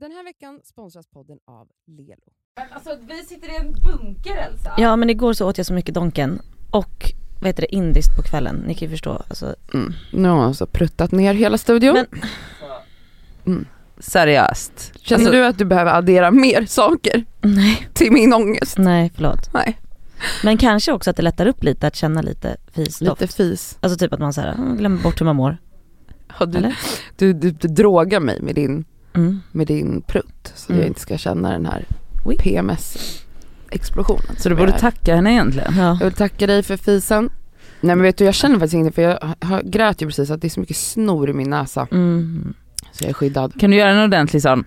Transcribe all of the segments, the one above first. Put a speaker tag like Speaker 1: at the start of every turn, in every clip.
Speaker 1: Den här veckan sponsras podden av Lelo.
Speaker 2: Alltså vi sitter i en bunker Elsa.
Speaker 3: Ja men igår så åt jag så mycket Donken och vad heter det, indiskt på kvällen. Ni kan ju förstå. Alltså, mm.
Speaker 1: Nu har hon alltså pruttat ner hela studion. Mm.
Speaker 3: Men-
Speaker 2: Seriöst.
Speaker 1: Känner
Speaker 2: alltså,
Speaker 1: du att du behöver addera mer saker
Speaker 3: Nej,
Speaker 1: till min ångest?
Speaker 3: nej förlåt.
Speaker 1: Nej.
Speaker 3: Men kanske också att det lättar upp lite att känna lite fisdoft.
Speaker 1: Lite fis.
Speaker 3: Alltså typ att man så här, mm, glömmer bort hur man mår.
Speaker 1: Ja, du,
Speaker 3: Eller?
Speaker 1: du, du, du drogar mig med din,
Speaker 3: Mm.
Speaker 1: med din prutt så
Speaker 3: Mm.
Speaker 1: jag inte ska känna den här
Speaker 3: Oui.
Speaker 1: PMS-explosionen.
Speaker 2: Så du borde
Speaker 1: Jag är.
Speaker 2: tacka henne egentligen.
Speaker 3: Ja.
Speaker 1: Jag vill tacka dig för fisen. Nej men vet du jag känner faktiskt inte för jag har- grät ju precis att det är så mycket snor i min näsa
Speaker 3: Mm.
Speaker 1: så jag är skyddad.
Speaker 2: Kan du göra en ordentlig sån?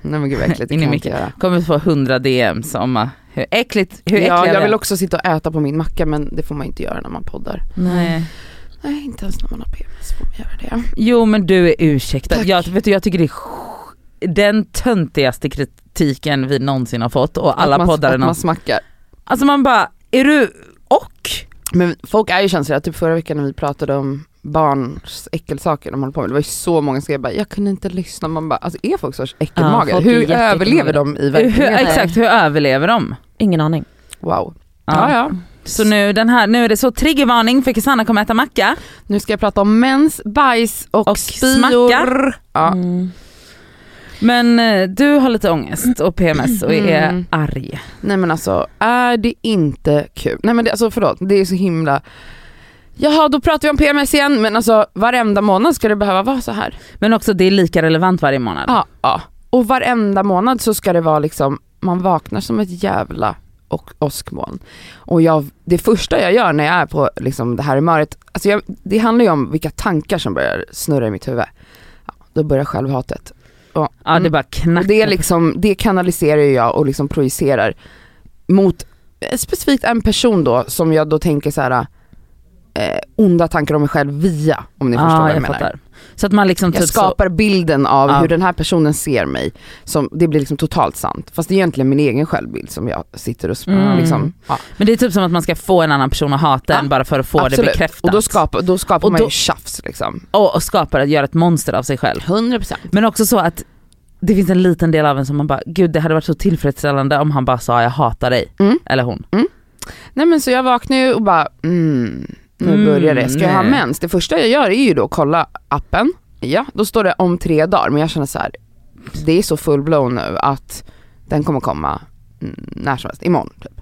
Speaker 1: Nej men gud vad äckligt, det
Speaker 2: In i
Speaker 1: kan jag inte
Speaker 2: micken.
Speaker 1: göra.
Speaker 2: Kommer få hundra DMs om uh, hur äckligt, hur äckliga
Speaker 1: Ja,
Speaker 2: vi
Speaker 1: jag
Speaker 2: är.
Speaker 1: vill också sitta och äta på min macka men det får man inte göra när man poddar.
Speaker 2: Nej.
Speaker 1: Nej inte ens när man har PMS får man göra det.
Speaker 2: Jo men du är ursäktad.
Speaker 1: Tack.
Speaker 2: Jag, vet du, jag tycker det är sj- den töntigaste kritiken vi någonsin har fått och alla
Speaker 1: att man,
Speaker 2: poddare
Speaker 1: Att man
Speaker 2: någonsin.
Speaker 1: smackar.
Speaker 2: Alltså man bara, är du och?
Speaker 1: Men folk är ju känsliga, typ förra veckan när vi pratade om barns äckelsaker de håller på med, det var ju så många som skrev bara jag kunde inte lyssna, man bara alltså är folk så äckelmagade?
Speaker 3: folk är
Speaker 1: Hur
Speaker 3: jätteäckelmagade.
Speaker 1: överlever de i
Speaker 2: Hur,
Speaker 1: verkligheten?
Speaker 2: exakt, hur överlever de?
Speaker 3: Ingen aning.
Speaker 1: Wow.
Speaker 2: Ja.
Speaker 1: Ja ja.
Speaker 2: Så nu, den här, nu är det så triggervarning för Cassandra kommer äta macka
Speaker 1: Nu ska jag prata om mens, bajs och,
Speaker 2: och
Speaker 1: spior.
Speaker 2: smackar.
Speaker 1: Ja.
Speaker 3: Mm.
Speaker 2: Men eh, du har lite ångest och PMS och är
Speaker 1: Mm.
Speaker 2: arg.
Speaker 1: Nej men alltså, är det inte kul? Nej men det, alltså förlåt, det är så himla Jaha, då pratar vi om PMS igen men alltså varenda månad ska det behöva vara så här.
Speaker 2: Men också det är lika relevant varje månad.
Speaker 1: Ja, ja. Och varenda månad så ska det vara liksom, man vaknar som ett jävla och åskmoln. Och jag, det första jag gör när jag är på liksom det här humöret, alltså jag, det handlar ju om vilka tankar som börjar snurra i mitt huvud. Ja, då börjar självhatet. Och,
Speaker 2: Ja det bara
Speaker 1: Och
Speaker 2: knackar.
Speaker 1: det, är liksom, det kanaliserar ju jag och liksom projicerar mot eh, specifikt en person då som jag då tänker så här eh, onda tankar om mig själv via, om ni
Speaker 2: Ja,
Speaker 1: förstår vad jag,
Speaker 2: jag
Speaker 1: menar.
Speaker 2: fattar. Så att man liksom
Speaker 1: Jag
Speaker 2: typ så,
Speaker 1: skapar bilden av
Speaker 2: Ja.
Speaker 1: hur den här personen ser mig, som, det blir liksom totalt sant. Fast det är egentligen min egen självbild som jag sitter och sp-
Speaker 3: Mm.
Speaker 1: liksom, ja,
Speaker 2: men det är typ som att man ska få en annan person att hata
Speaker 1: Ja,
Speaker 2: en bara för att få det
Speaker 1: absolut.
Speaker 2: bekräftat.
Speaker 1: Och då skapar, då skapar
Speaker 2: Och
Speaker 1: man
Speaker 2: då-
Speaker 1: ju tjafs liksom.
Speaker 2: och, och skapar, att göra ett monster av sig själv.
Speaker 1: 100%.
Speaker 2: Men också så att det finns en liten del av en som man bara, gud det hade varit så tillfredsställande om han bara sa jag hatar dig.
Speaker 1: Mm.
Speaker 2: Eller hon.
Speaker 1: Nej men så jag vaknar ju och bara, mm, nu
Speaker 2: Mm,
Speaker 1: börjar det. Ska jag ha
Speaker 2: nej.
Speaker 1: mens? Det första jag gör är ju då att kolla appen. Ja, då står det om tre dagar men jag känner så här, det är så full-blown nu att den kommer komma mm, när som helst, imorgon typ.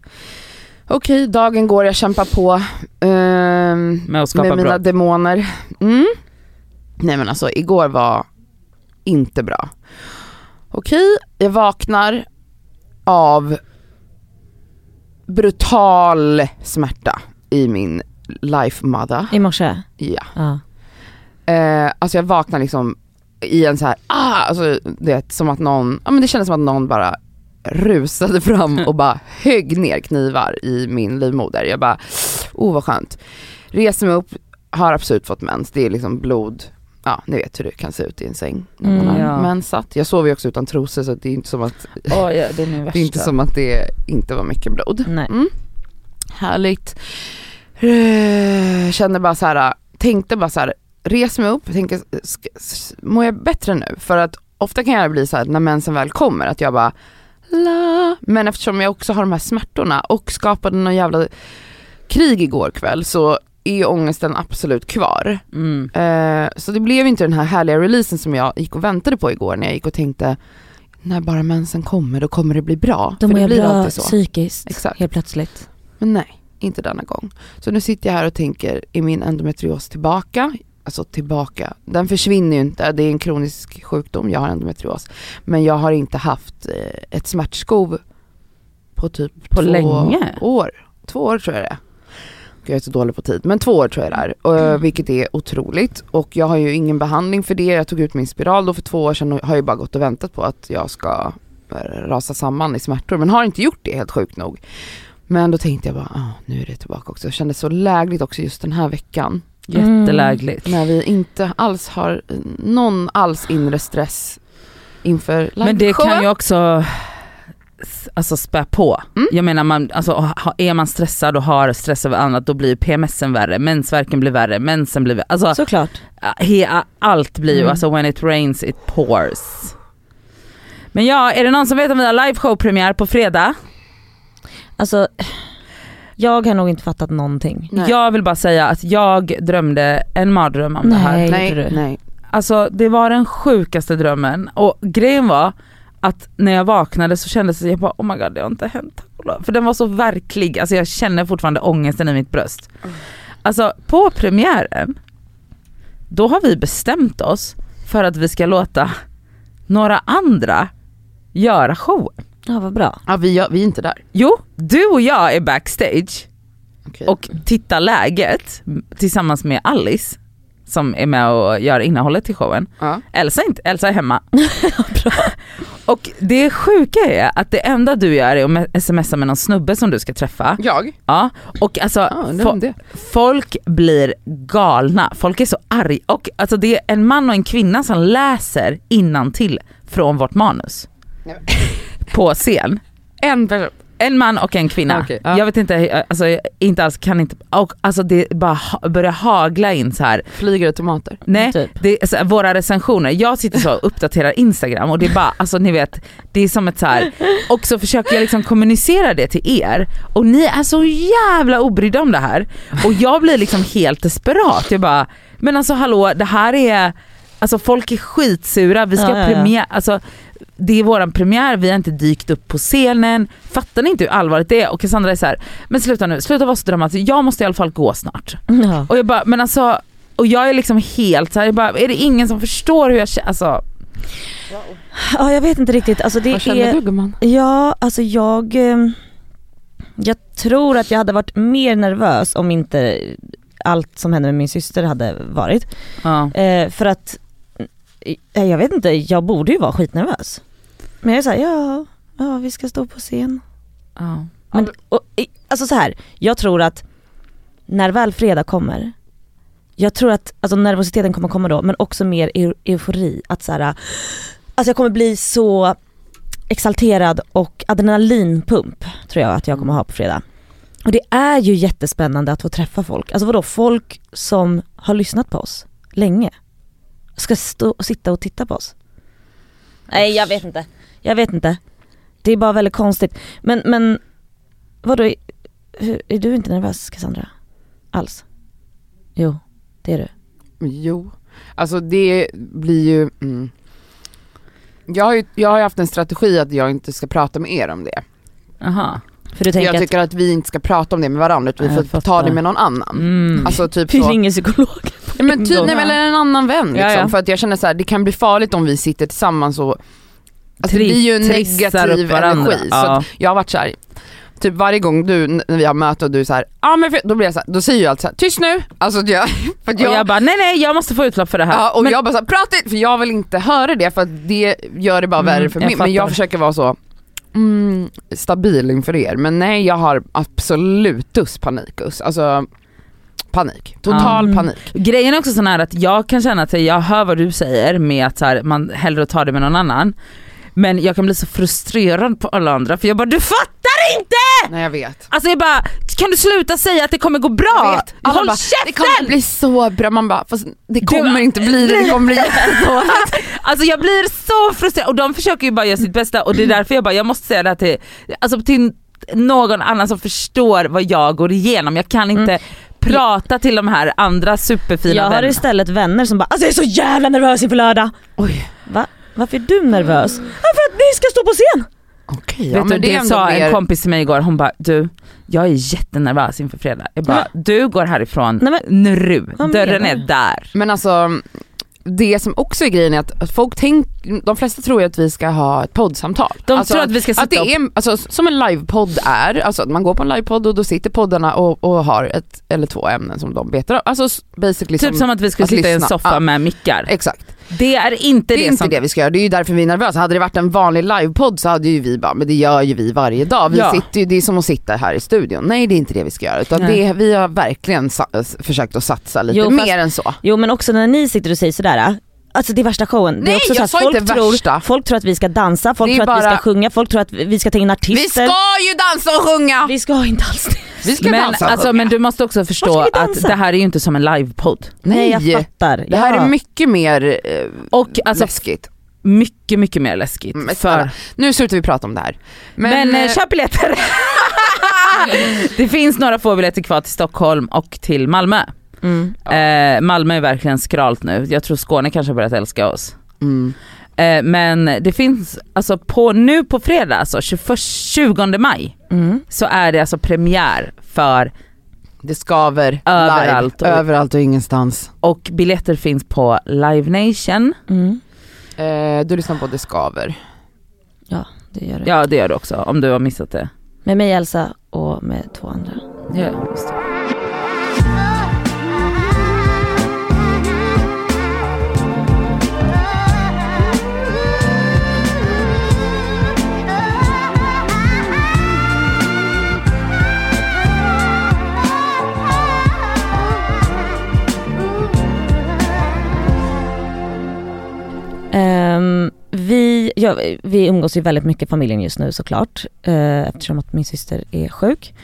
Speaker 1: Okej, dagen går, jag kämpar på. Ehm,
Speaker 2: Med att skapa
Speaker 1: med mina
Speaker 2: bra.
Speaker 1: demoner. Mm. Nej men alltså igår var inte bra. Okej, jag vaknar av brutal smärta i min life mother.
Speaker 3: I morse?
Speaker 1: Ja.
Speaker 3: Ja.
Speaker 1: Eh, alltså jag vaknar liksom i en så här, ah, alltså du vet som att någon, ja men det kändes som att någon bara rusade fram och bara högg ner knivar i min livmoder. Jag bara, oh vad skönt. Reser mig upp, har absolut fått mens, det är liksom blod, ja ni vet hur det kan se ut i en säng när man
Speaker 3: Mm,
Speaker 1: har
Speaker 2: ja.
Speaker 1: mensat. Jag sover ju också utan trosor så det är inte som att,
Speaker 2: Oh, ja, det är min
Speaker 1: det, är inte,
Speaker 2: värsta.
Speaker 1: som att det inte var mycket blod.
Speaker 3: Nej.
Speaker 1: Härligt. Eh, Kände bara så här, tänkte bara så här, res mig upp, tänkte, ska, s- mår jag bättre nu? För att ofta kan jag bli så här när mensen väl kommer, att jag bara la. Men eftersom jag också har de här smärtorna och skapade någon jävla krig igår kväll så är ju ångesten absolut kvar.
Speaker 2: Mm.
Speaker 1: Eh, så det blev inte den här härliga releasen som jag gick och väntade på igår när jag gick och tänkte när bara mensen kommer då kommer det bli bra.
Speaker 3: Då
Speaker 1: För
Speaker 3: mår
Speaker 1: det
Speaker 3: jag
Speaker 1: blir
Speaker 3: bra
Speaker 1: alltid så.
Speaker 3: psykiskt
Speaker 1: Exakt.
Speaker 3: helt plötsligt.
Speaker 1: Men nej, inte denna gång. Så nu sitter jag här och tänker, är min endometrios tillbaka? Alltså tillbaka, den försvinner ju inte, det är en kronisk sjukdom, jag har endometrios. Men jag har inte haft eh, ett smärtskov på typ
Speaker 2: På
Speaker 1: två
Speaker 2: länge?
Speaker 1: år. Två år tror jag det är. Gud, Jag är så dålig på tid, men två år tror jag det är. Och,
Speaker 2: Mm.
Speaker 1: eh, Vilket är otroligt. Och jag har ju ingen behandling för det. Jag tog ut min spiral då för två år sedan och har ju bara gått och väntat på att jag ska eh, rasa samman i smärtor. Men har inte gjort det helt sjukt nog. Men då tänkte jag bara, ah, nu är det tillbaka också. Jag kände så lägligt också just den här veckan. Mm.
Speaker 2: Jättelägligt.
Speaker 1: När vi inte alls har eh, någon alls inre stress inför
Speaker 2: Men det
Speaker 1: liveshowen.
Speaker 2: kan ju också s- alltså, spä på.
Speaker 1: Mm.
Speaker 2: Jag menar man, alltså, ha- är man stressad och har stress över annat då blir ju PMSen värre, mensvärken blir värre, mensen blir värre. Alltså,
Speaker 3: Såklart.
Speaker 2: he, allt blir ju,
Speaker 3: Mm.
Speaker 2: alltså when it rains it pours. Men ja, är det någon som vet om vi har liveshow-premiär på fredag?
Speaker 3: Alltså, jag har nog inte fattat någonting.
Speaker 1: Nej.
Speaker 2: Jag vill bara säga att jag drömde en mardröm om det här.
Speaker 3: Nej, gjorde
Speaker 1: nej,
Speaker 3: du?
Speaker 1: nej.
Speaker 2: Alltså det var den sjukaste drömmen och grejen var att när jag vaknade så kändes det, jag bara oh my god det har inte hänt tack och lov. För den var så verklig, alltså jag känner fortfarande ångesten i mitt bröst. Alltså på premiären, då har vi bestämt oss för att vi ska låta några andra göra showen.
Speaker 3: Ja vad bra.
Speaker 1: Ja, vi, ja, vi är inte där.
Speaker 2: Jo, du och jag är backstage
Speaker 1: Okej.
Speaker 2: och tittar läget tillsammans med Alice som är med och gör innehållet till showen.
Speaker 1: ja.
Speaker 2: Elsa, är inte, Elsa är hemma. Och det sjuka är att det enda du gör är att me- smsa med någon snubbe som du ska träffa.
Speaker 1: Jag?
Speaker 2: Ja. Och alltså
Speaker 1: Ja, undrar om
Speaker 2: fo-
Speaker 1: det.
Speaker 2: folk blir galna, folk är så arga. Och alltså det är en man och en kvinna som läser till från vårt manus.
Speaker 1: Nej,
Speaker 2: På scen.
Speaker 1: En person.
Speaker 2: En man och en kvinna.
Speaker 1: Ah, Okej, ja.
Speaker 2: Jag vet inte, alltså, jag inte alls kan inte, och, alltså det bara ha, börjar hagla in så här
Speaker 1: Flyger det tomater?
Speaker 2: Nej,
Speaker 3: Typ.
Speaker 2: det är så här, våra recensioner, jag sitter så och uppdaterar instagram och det är bara, alltså ni vet, det är som ett så här. och så försöker jag liksom kommunicera det till er och ni är så jävla obrydda om det här och jag blir liksom helt desperat, jag bara, men alltså hallå det här är, alltså folk är skitsura, vi ska
Speaker 3: Ja, ja, ja.
Speaker 2: premiär, alltså det är våran premiär, vi har inte dykt upp på scenen. Fattar ni inte hur allvarligt det är? Och Cassandra är så här, men sluta nu, sluta vara så dramatisk, jag måste i alla fall gå snart.
Speaker 3: Ja.
Speaker 2: Och jag bara, men alltså, och jag är liksom helt såhär, jag bara, är det ingen som förstår hur jag känner? Alltså,
Speaker 3: ja jag vet inte riktigt, alltså det
Speaker 1: Vad känner
Speaker 3: är...
Speaker 1: du gumman?
Speaker 3: Ja, alltså jag... eh, Jag tror att jag hade varit mer nervös om inte allt som hände med min syster hade varit.
Speaker 2: ja.
Speaker 3: Eh, för att, eh, jag vet inte, jag borde ju vara skitnervös. Men jag är såhär, ja, ja vi ska stå på scen.
Speaker 2: ja.
Speaker 3: Men, och, i- alltså så här, jag tror att när väl fredag kommer, jag tror att alltså nervositeten kommer komma då, men också mer eu- eufori. Att så här, alltså jag kommer bli så exalterad och adrenalinpump tror jag att jag kommer ha på fredag. Och det är ju jättespännande att få träffa folk. Alltså vadå, folk som har lyssnat på oss länge ska stå och sitta och titta på oss. Nej jag vet inte, jag vet inte. Det är bara väldigt konstigt. Men, men Vadå, är, hur, är du inte nervös Cassandra? Alls? Jo, det är du.
Speaker 1: Jo, alltså det blir ju... Mm. Jag, har ju jag har ju haft en strategi att jag inte ska prata med er om det.
Speaker 2: Aha.
Speaker 3: För du tänker
Speaker 1: jag tycker typ att vi inte ska prata om det med varandra utan vi
Speaker 2: Jag
Speaker 1: får ta
Speaker 2: fattar.
Speaker 1: det med någon annan.
Speaker 2: Mm.
Speaker 1: Alltså typ
Speaker 3: att vi
Speaker 1: så.
Speaker 3: ringer psykologen.
Speaker 1: Nej, Men typ,
Speaker 3: gång.
Speaker 1: nej, men eller en annan vän liksom.
Speaker 2: Ja, ja.
Speaker 1: För att jag känner så här, det kan bli farligt om vi sitter tillsammans och Alltså,
Speaker 2: Tri-
Speaker 1: det blir ju en
Speaker 2: trissar upp
Speaker 1: negativ
Speaker 2: varandra.
Speaker 1: energi. Så
Speaker 2: Ja.
Speaker 1: att jag har varit så här, typ varje gång du, när vi har möte och du är så här, ah, men för, då blir jag så här, då säger jag alltid så här, tyst nu. Alltså att jag, för att
Speaker 2: Och jag bara, nej nej jag måste få utlopp för det här.
Speaker 1: Ja, och
Speaker 2: men,
Speaker 1: jag bara såhär, prata inte, för jag vill inte höra det för att det gör det bara
Speaker 2: Mm,
Speaker 1: värre för
Speaker 2: jag
Speaker 1: mig. Men
Speaker 2: fattar.
Speaker 1: jag försöker vara så mm, stabil inför er. Men nej jag har absolutus panikus. Alltså panik, total
Speaker 3: Ja.
Speaker 1: panik.
Speaker 2: Grejen är också sån här att jag kan känna att jag hör vad du säger med att så här, man hellre tar det med någon annan. Men jag kan bli så frustrerad på alla andra för jag bara, du fattar inte!
Speaker 1: Nej jag vet.
Speaker 2: Alltså jag bara, kan du sluta säga att det kommer gå
Speaker 1: Jag
Speaker 2: bra?
Speaker 1: vet. Alla
Speaker 2: Håll
Speaker 1: bara, Det kommer
Speaker 2: käften!
Speaker 1: bli så bra, man bara fast det kommer inte bli det, det kommer bli jättedåligt.
Speaker 2: Alltså jag blir så frustrerad och de försöker ju bara göra sitt bästa och det är därför jag bara, jag måste säga det här till, alltså till någon annan som förstår vad jag går igenom. Jag kan inte prata till de här andra superfina
Speaker 3: Jag har
Speaker 2: vännerna.
Speaker 3: istället vänner som bara alltså jag är så jävla nervös inför lördag.
Speaker 1: Oj,
Speaker 3: Va? Varför är du nervös? Ja, för att ni ska stå på scen!
Speaker 1: okej.
Speaker 2: Vet du,
Speaker 1: men
Speaker 2: det,
Speaker 1: ändå
Speaker 2: sa en
Speaker 1: mer-
Speaker 2: kompis till mig igår, hon bara du, jag är jättenervös inför fredag. Jag bara, du går härifrån
Speaker 3: Nej,
Speaker 2: nu,
Speaker 3: Vad
Speaker 2: dörren
Speaker 3: menar
Speaker 2: är där.
Speaker 1: Men alltså det som också är grejen är att att folk tänk, de flesta tror ju att vi ska ha ett poddsamtal.
Speaker 2: De
Speaker 1: alltså,
Speaker 2: tror att vi ska
Speaker 1: Att det
Speaker 2: sitta och-
Speaker 1: är, alltså, som en livepodd är, alltså att man går på en livepodd och då sitter poddarna och, och har ett eller två ämnen som de betar av. Alltså s- basically
Speaker 2: Typ som att vi skulle
Speaker 1: att
Speaker 2: sitta i en
Speaker 1: lyssna.
Speaker 2: soffa
Speaker 1: Ja.
Speaker 2: med mickar.
Speaker 1: Exakt,
Speaker 2: Det är inte
Speaker 1: det, är
Speaker 2: det,
Speaker 1: inte
Speaker 2: som...
Speaker 1: det vi ska göra, det är ju därför vi är nervösa. Hade det varit en vanlig livepodd så hade ju vi bara, men det gör ju vi varje dag. Vi
Speaker 2: Ja.
Speaker 1: sitter ju, det är som att sitta här i studion. Nej det är inte det vi ska göra utan
Speaker 2: Nej.
Speaker 1: det, vi har verkligen sa- s- försökt att satsa lite
Speaker 3: Jo, fast-
Speaker 1: mer än så.
Speaker 3: Jo men också när ni sitter och säger sådär, alltså det är värsta showen. det är
Speaker 1: Nej,
Speaker 3: också
Speaker 1: jag
Speaker 3: så här,
Speaker 1: sa
Speaker 3: folk
Speaker 1: inte
Speaker 3: tror,
Speaker 1: värsta.
Speaker 3: Folk tror att vi ska dansa, folk
Speaker 1: Det är
Speaker 3: tror att vi
Speaker 1: bara-
Speaker 3: ska sjunga, folk tror att vi ska ta in
Speaker 1: Vi
Speaker 3: artister.
Speaker 1: ska ju dansa och sjunga!
Speaker 3: Vi ska inte alls det.
Speaker 1: Vi ska
Speaker 2: Men,
Speaker 1: dansa och
Speaker 2: alltså,
Speaker 1: sjunga.
Speaker 2: men du måste också
Speaker 3: ska
Speaker 2: förstå
Speaker 3: vi
Speaker 2: att
Speaker 3: dansa?
Speaker 2: det här är ju inte som en livepodd.
Speaker 3: Nej jag fattar.
Speaker 1: Det här
Speaker 3: ja.
Speaker 1: är mycket mer eh,
Speaker 2: Och alltså,
Speaker 1: läskigt.
Speaker 2: mycket, mycket mer läskigt.
Speaker 1: Men
Speaker 2: för,
Speaker 1: snälla, Nu slutar vi prata om det här.
Speaker 2: men eh,
Speaker 1: eh,
Speaker 2: köp biljetter! det finns några få biljetter kvar till Stockholm och till Malmö.
Speaker 3: Mm.
Speaker 2: Eh, Malmö är verkligen skralt nu. Jag tror Skåne kanske har börjat älska oss.
Speaker 1: mm.
Speaker 2: Eh, men det finns, alltså på, nu på fredag alltså 21, 20 maj
Speaker 3: Mm.
Speaker 2: så är det alltså premiär för
Speaker 1: Det skaver
Speaker 2: Överallt och-
Speaker 1: live, överallt och ingenstans.
Speaker 2: och biljetter finns på Live Nation.
Speaker 3: Mm.
Speaker 1: Eh, du lyssnar på Det skaver.
Speaker 3: Ja, det gör det.
Speaker 2: Ja det gör du också om du har missat det.
Speaker 3: Med mig Elsa och med två andra.
Speaker 2: Ja, just det.
Speaker 3: Ehm, vi, ja, vi umgås ju väldigt mycket i familjen just nu såklart eh, eftersom att min syster är sjuk.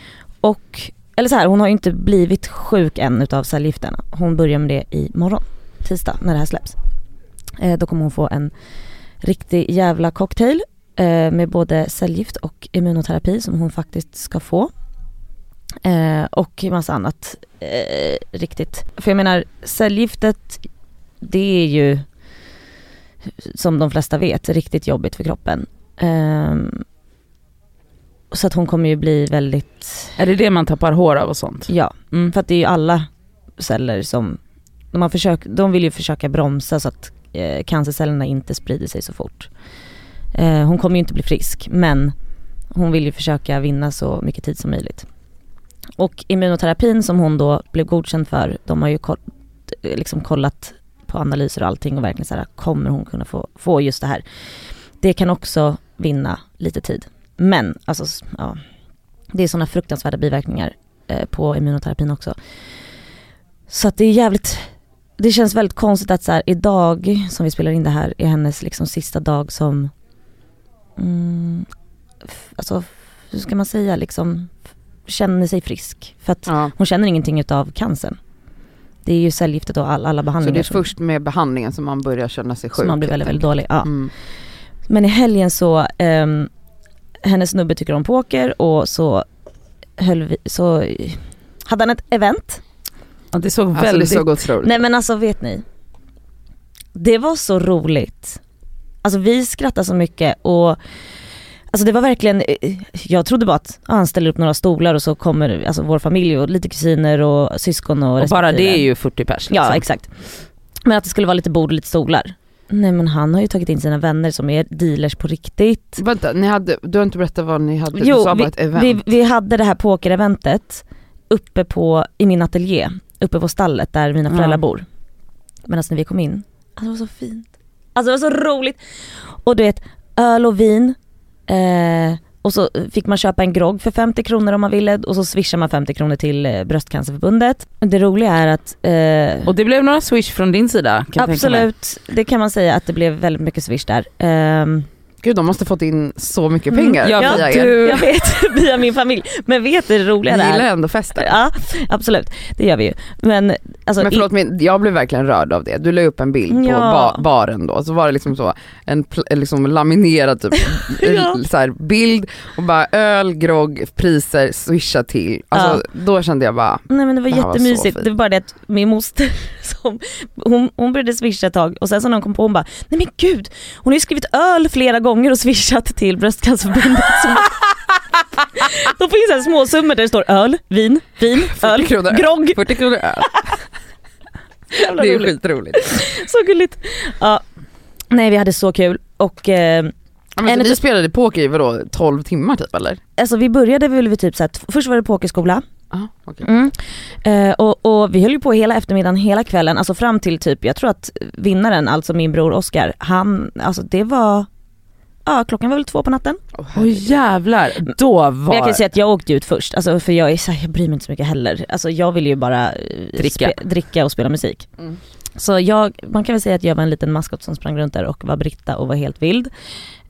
Speaker 3: Och, eller så här, hon har ju inte blivit sjuk än utav cellgifterna. Hon börjar med det imorgon, tisdag, när det här släpps. Eh, då kommer hon få en riktig jävla cocktail eh, med både cellgift och immunoterapi som hon faktiskt ska få. Eh, och massa annat eh, riktigt. För jag menar, cellgiftet det är ju som de flesta vet, riktigt jobbigt för kroppen. Ehm, så att hon kommer ju bli väldigt,
Speaker 2: Är det det man tappar hår av och sånt?
Speaker 3: ja,
Speaker 2: Mm.
Speaker 3: för att det är ju alla celler som, man försöker, de vill ju försöka bromsa så att eh, cancercellerna inte sprider sig så fort. Eh, hon kommer ju inte bli frisk men hon vill ju försöka vinna så mycket tid som möjligt. Och immunoterapin som hon då blev godkänd för, de har ju koll, liksom kollat på analyser och allting och verkligen så här, kommer hon kunna få, få just det här? Det kan också vinna lite tid. Men alltså, s- ja, det är sådana fruktansvärda biverkningar eh, på immunoterapin också. Så att det är jävligt, det känns väldigt konstigt att så här, idag som vi spelar in det här är hennes liksom sista dag som, mm, f- alltså hur ska man säga liksom, f- känner sig frisk. För att
Speaker 1: Ja.
Speaker 3: hon känner ingenting utav cancern. Det är ju cellgiftet och all, alla
Speaker 1: Så det
Speaker 3: behandlingar
Speaker 1: är först med behandlingen som man börjar känna sig
Speaker 3: som,
Speaker 1: sjuk.
Speaker 3: som man blir
Speaker 1: helt
Speaker 3: väldigt, väldigt
Speaker 1: enkelt.
Speaker 3: dålig. Ja.
Speaker 1: Mm.
Speaker 3: Men i helgen så, ehm, hennes snubbe tycker om poker och så höll vi, så hade han ett event.
Speaker 2: Ja, det såg
Speaker 1: Alltså
Speaker 2: väldigt...
Speaker 1: det såg otroligt
Speaker 3: Nej men alltså vet ni. Det var så roligt. Alltså vi skrattade så mycket och Alltså det var verkligen, jag trodde bara att ah, han ställer upp några stolar och så kommer alltså vår familj och lite kusiner och syskon och
Speaker 2: och bara det
Speaker 3: respektive.
Speaker 2: är ju 40 pers liksom.
Speaker 3: Ja exakt. Men att det skulle vara lite bord och lite stolar. Nej men han har ju tagit in sina vänner som är dealers på riktigt.
Speaker 1: Vänta, ni hade, du har inte berättat vad ni hade, du sa bara ett event.
Speaker 3: vi, vi hade det här pokereventet uppe på, i min ateljé, uppe på stallet där mina
Speaker 2: Ja.
Speaker 3: föräldrar bor. Men alltså när vi kom in, alltså det var så fint. Alltså det var så roligt. Och du vet, öl och vin. Eh, och så fick man köpa en grogg för 50 kronor om man ville och så swishar man 50 kronor till eh, Bröstcancerförbundet. Det roliga är att eh,
Speaker 2: Och det blev några swish från din sida kan jag tänka mig.
Speaker 3: Absolut, det kan man säga att det blev väldigt mycket swish där. Ehm,
Speaker 1: Gud de måste fått in så mycket
Speaker 3: Mm,
Speaker 1: pengar
Speaker 2: Ja,
Speaker 1: via er.
Speaker 2: du...
Speaker 3: jag vet, via min familj. Men vet du det
Speaker 1: Ni
Speaker 3: roliga
Speaker 1: gillar
Speaker 3: där?
Speaker 1: ändå festen.
Speaker 3: Ja, absolut. Det gör vi ju. Men alltså,
Speaker 1: Men förlåt men jag blev verkligen rörd av det. Du la upp en bild på
Speaker 3: Ja.
Speaker 1: ba- baren då, så var det liksom så en pl- en liksom laminerad typ,
Speaker 3: Ja.
Speaker 1: så här, bild och bara öl, grogg, priser, swisha till. Alltså då kände jag bara,
Speaker 3: i, nej men det var
Speaker 1: Det här var så
Speaker 3: jättemysigt.
Speaker 1: fint.
Speaker 3: det var bara det att min moster, som, hon, hon började swisha ett tag och sen så när hon kom på hon bara, nej men gud, hon har ju skrivit öl flera gånger och swishat till Bröstcancerförbundet. Så hon- Då finns det här småsummor där det står öl, vin, vin,
Speaker 1: 40
Speaker 3: öl,
Speaker 1: kronor.
Speaker 3: grogg.
Speaker 1: 40 kronor öl.
Speaker 3: Jävla
Speaker 1: Det är ju
Speaker 3: roligt.
Speaker 1: skitroligt.
Speaker 3: Så gulligt. Ja. Nej vi hade så kul och eh,
Speaker 1: Ja, men,
Speaker 3: En
Speaker 1: så ni
Speaker 3: utav-
Speaker 1: spelade poker i vadå 12 timmar typ eller?
Speaker 3: alltså vi började väl vid typ så här, t- först var det pokerskola,
Speaker 1: Aha, okej.
Speaker 3: Mm. Eh, och, och vi höll ju på hela eftermiddagen, hela kvällen, alltså fram till typ, jag tror att vinnaren, alltså min bror Oscar, han, alltså det var, ja klockan var väl två på natten.
Speaker 1: Åh,
Speaker 2: Oj
Speaker 1: herregud.
Speaker 2: jävlar, då var...
Speaker 3: Men jag kan ju säga att jag åkte ut först, alltså för jag är så här, jag bryr mig inte så mycket heller. Alltså jag vill ju bara eh,
Speaker 2: Dricka.
Speaker 3: dricka och spela musik.
Speaker 1: Mm.
Speaker 3: Så jag, man kan väl säga att jag var en liten maskot som sprang runt där och var Britta och var helt vild.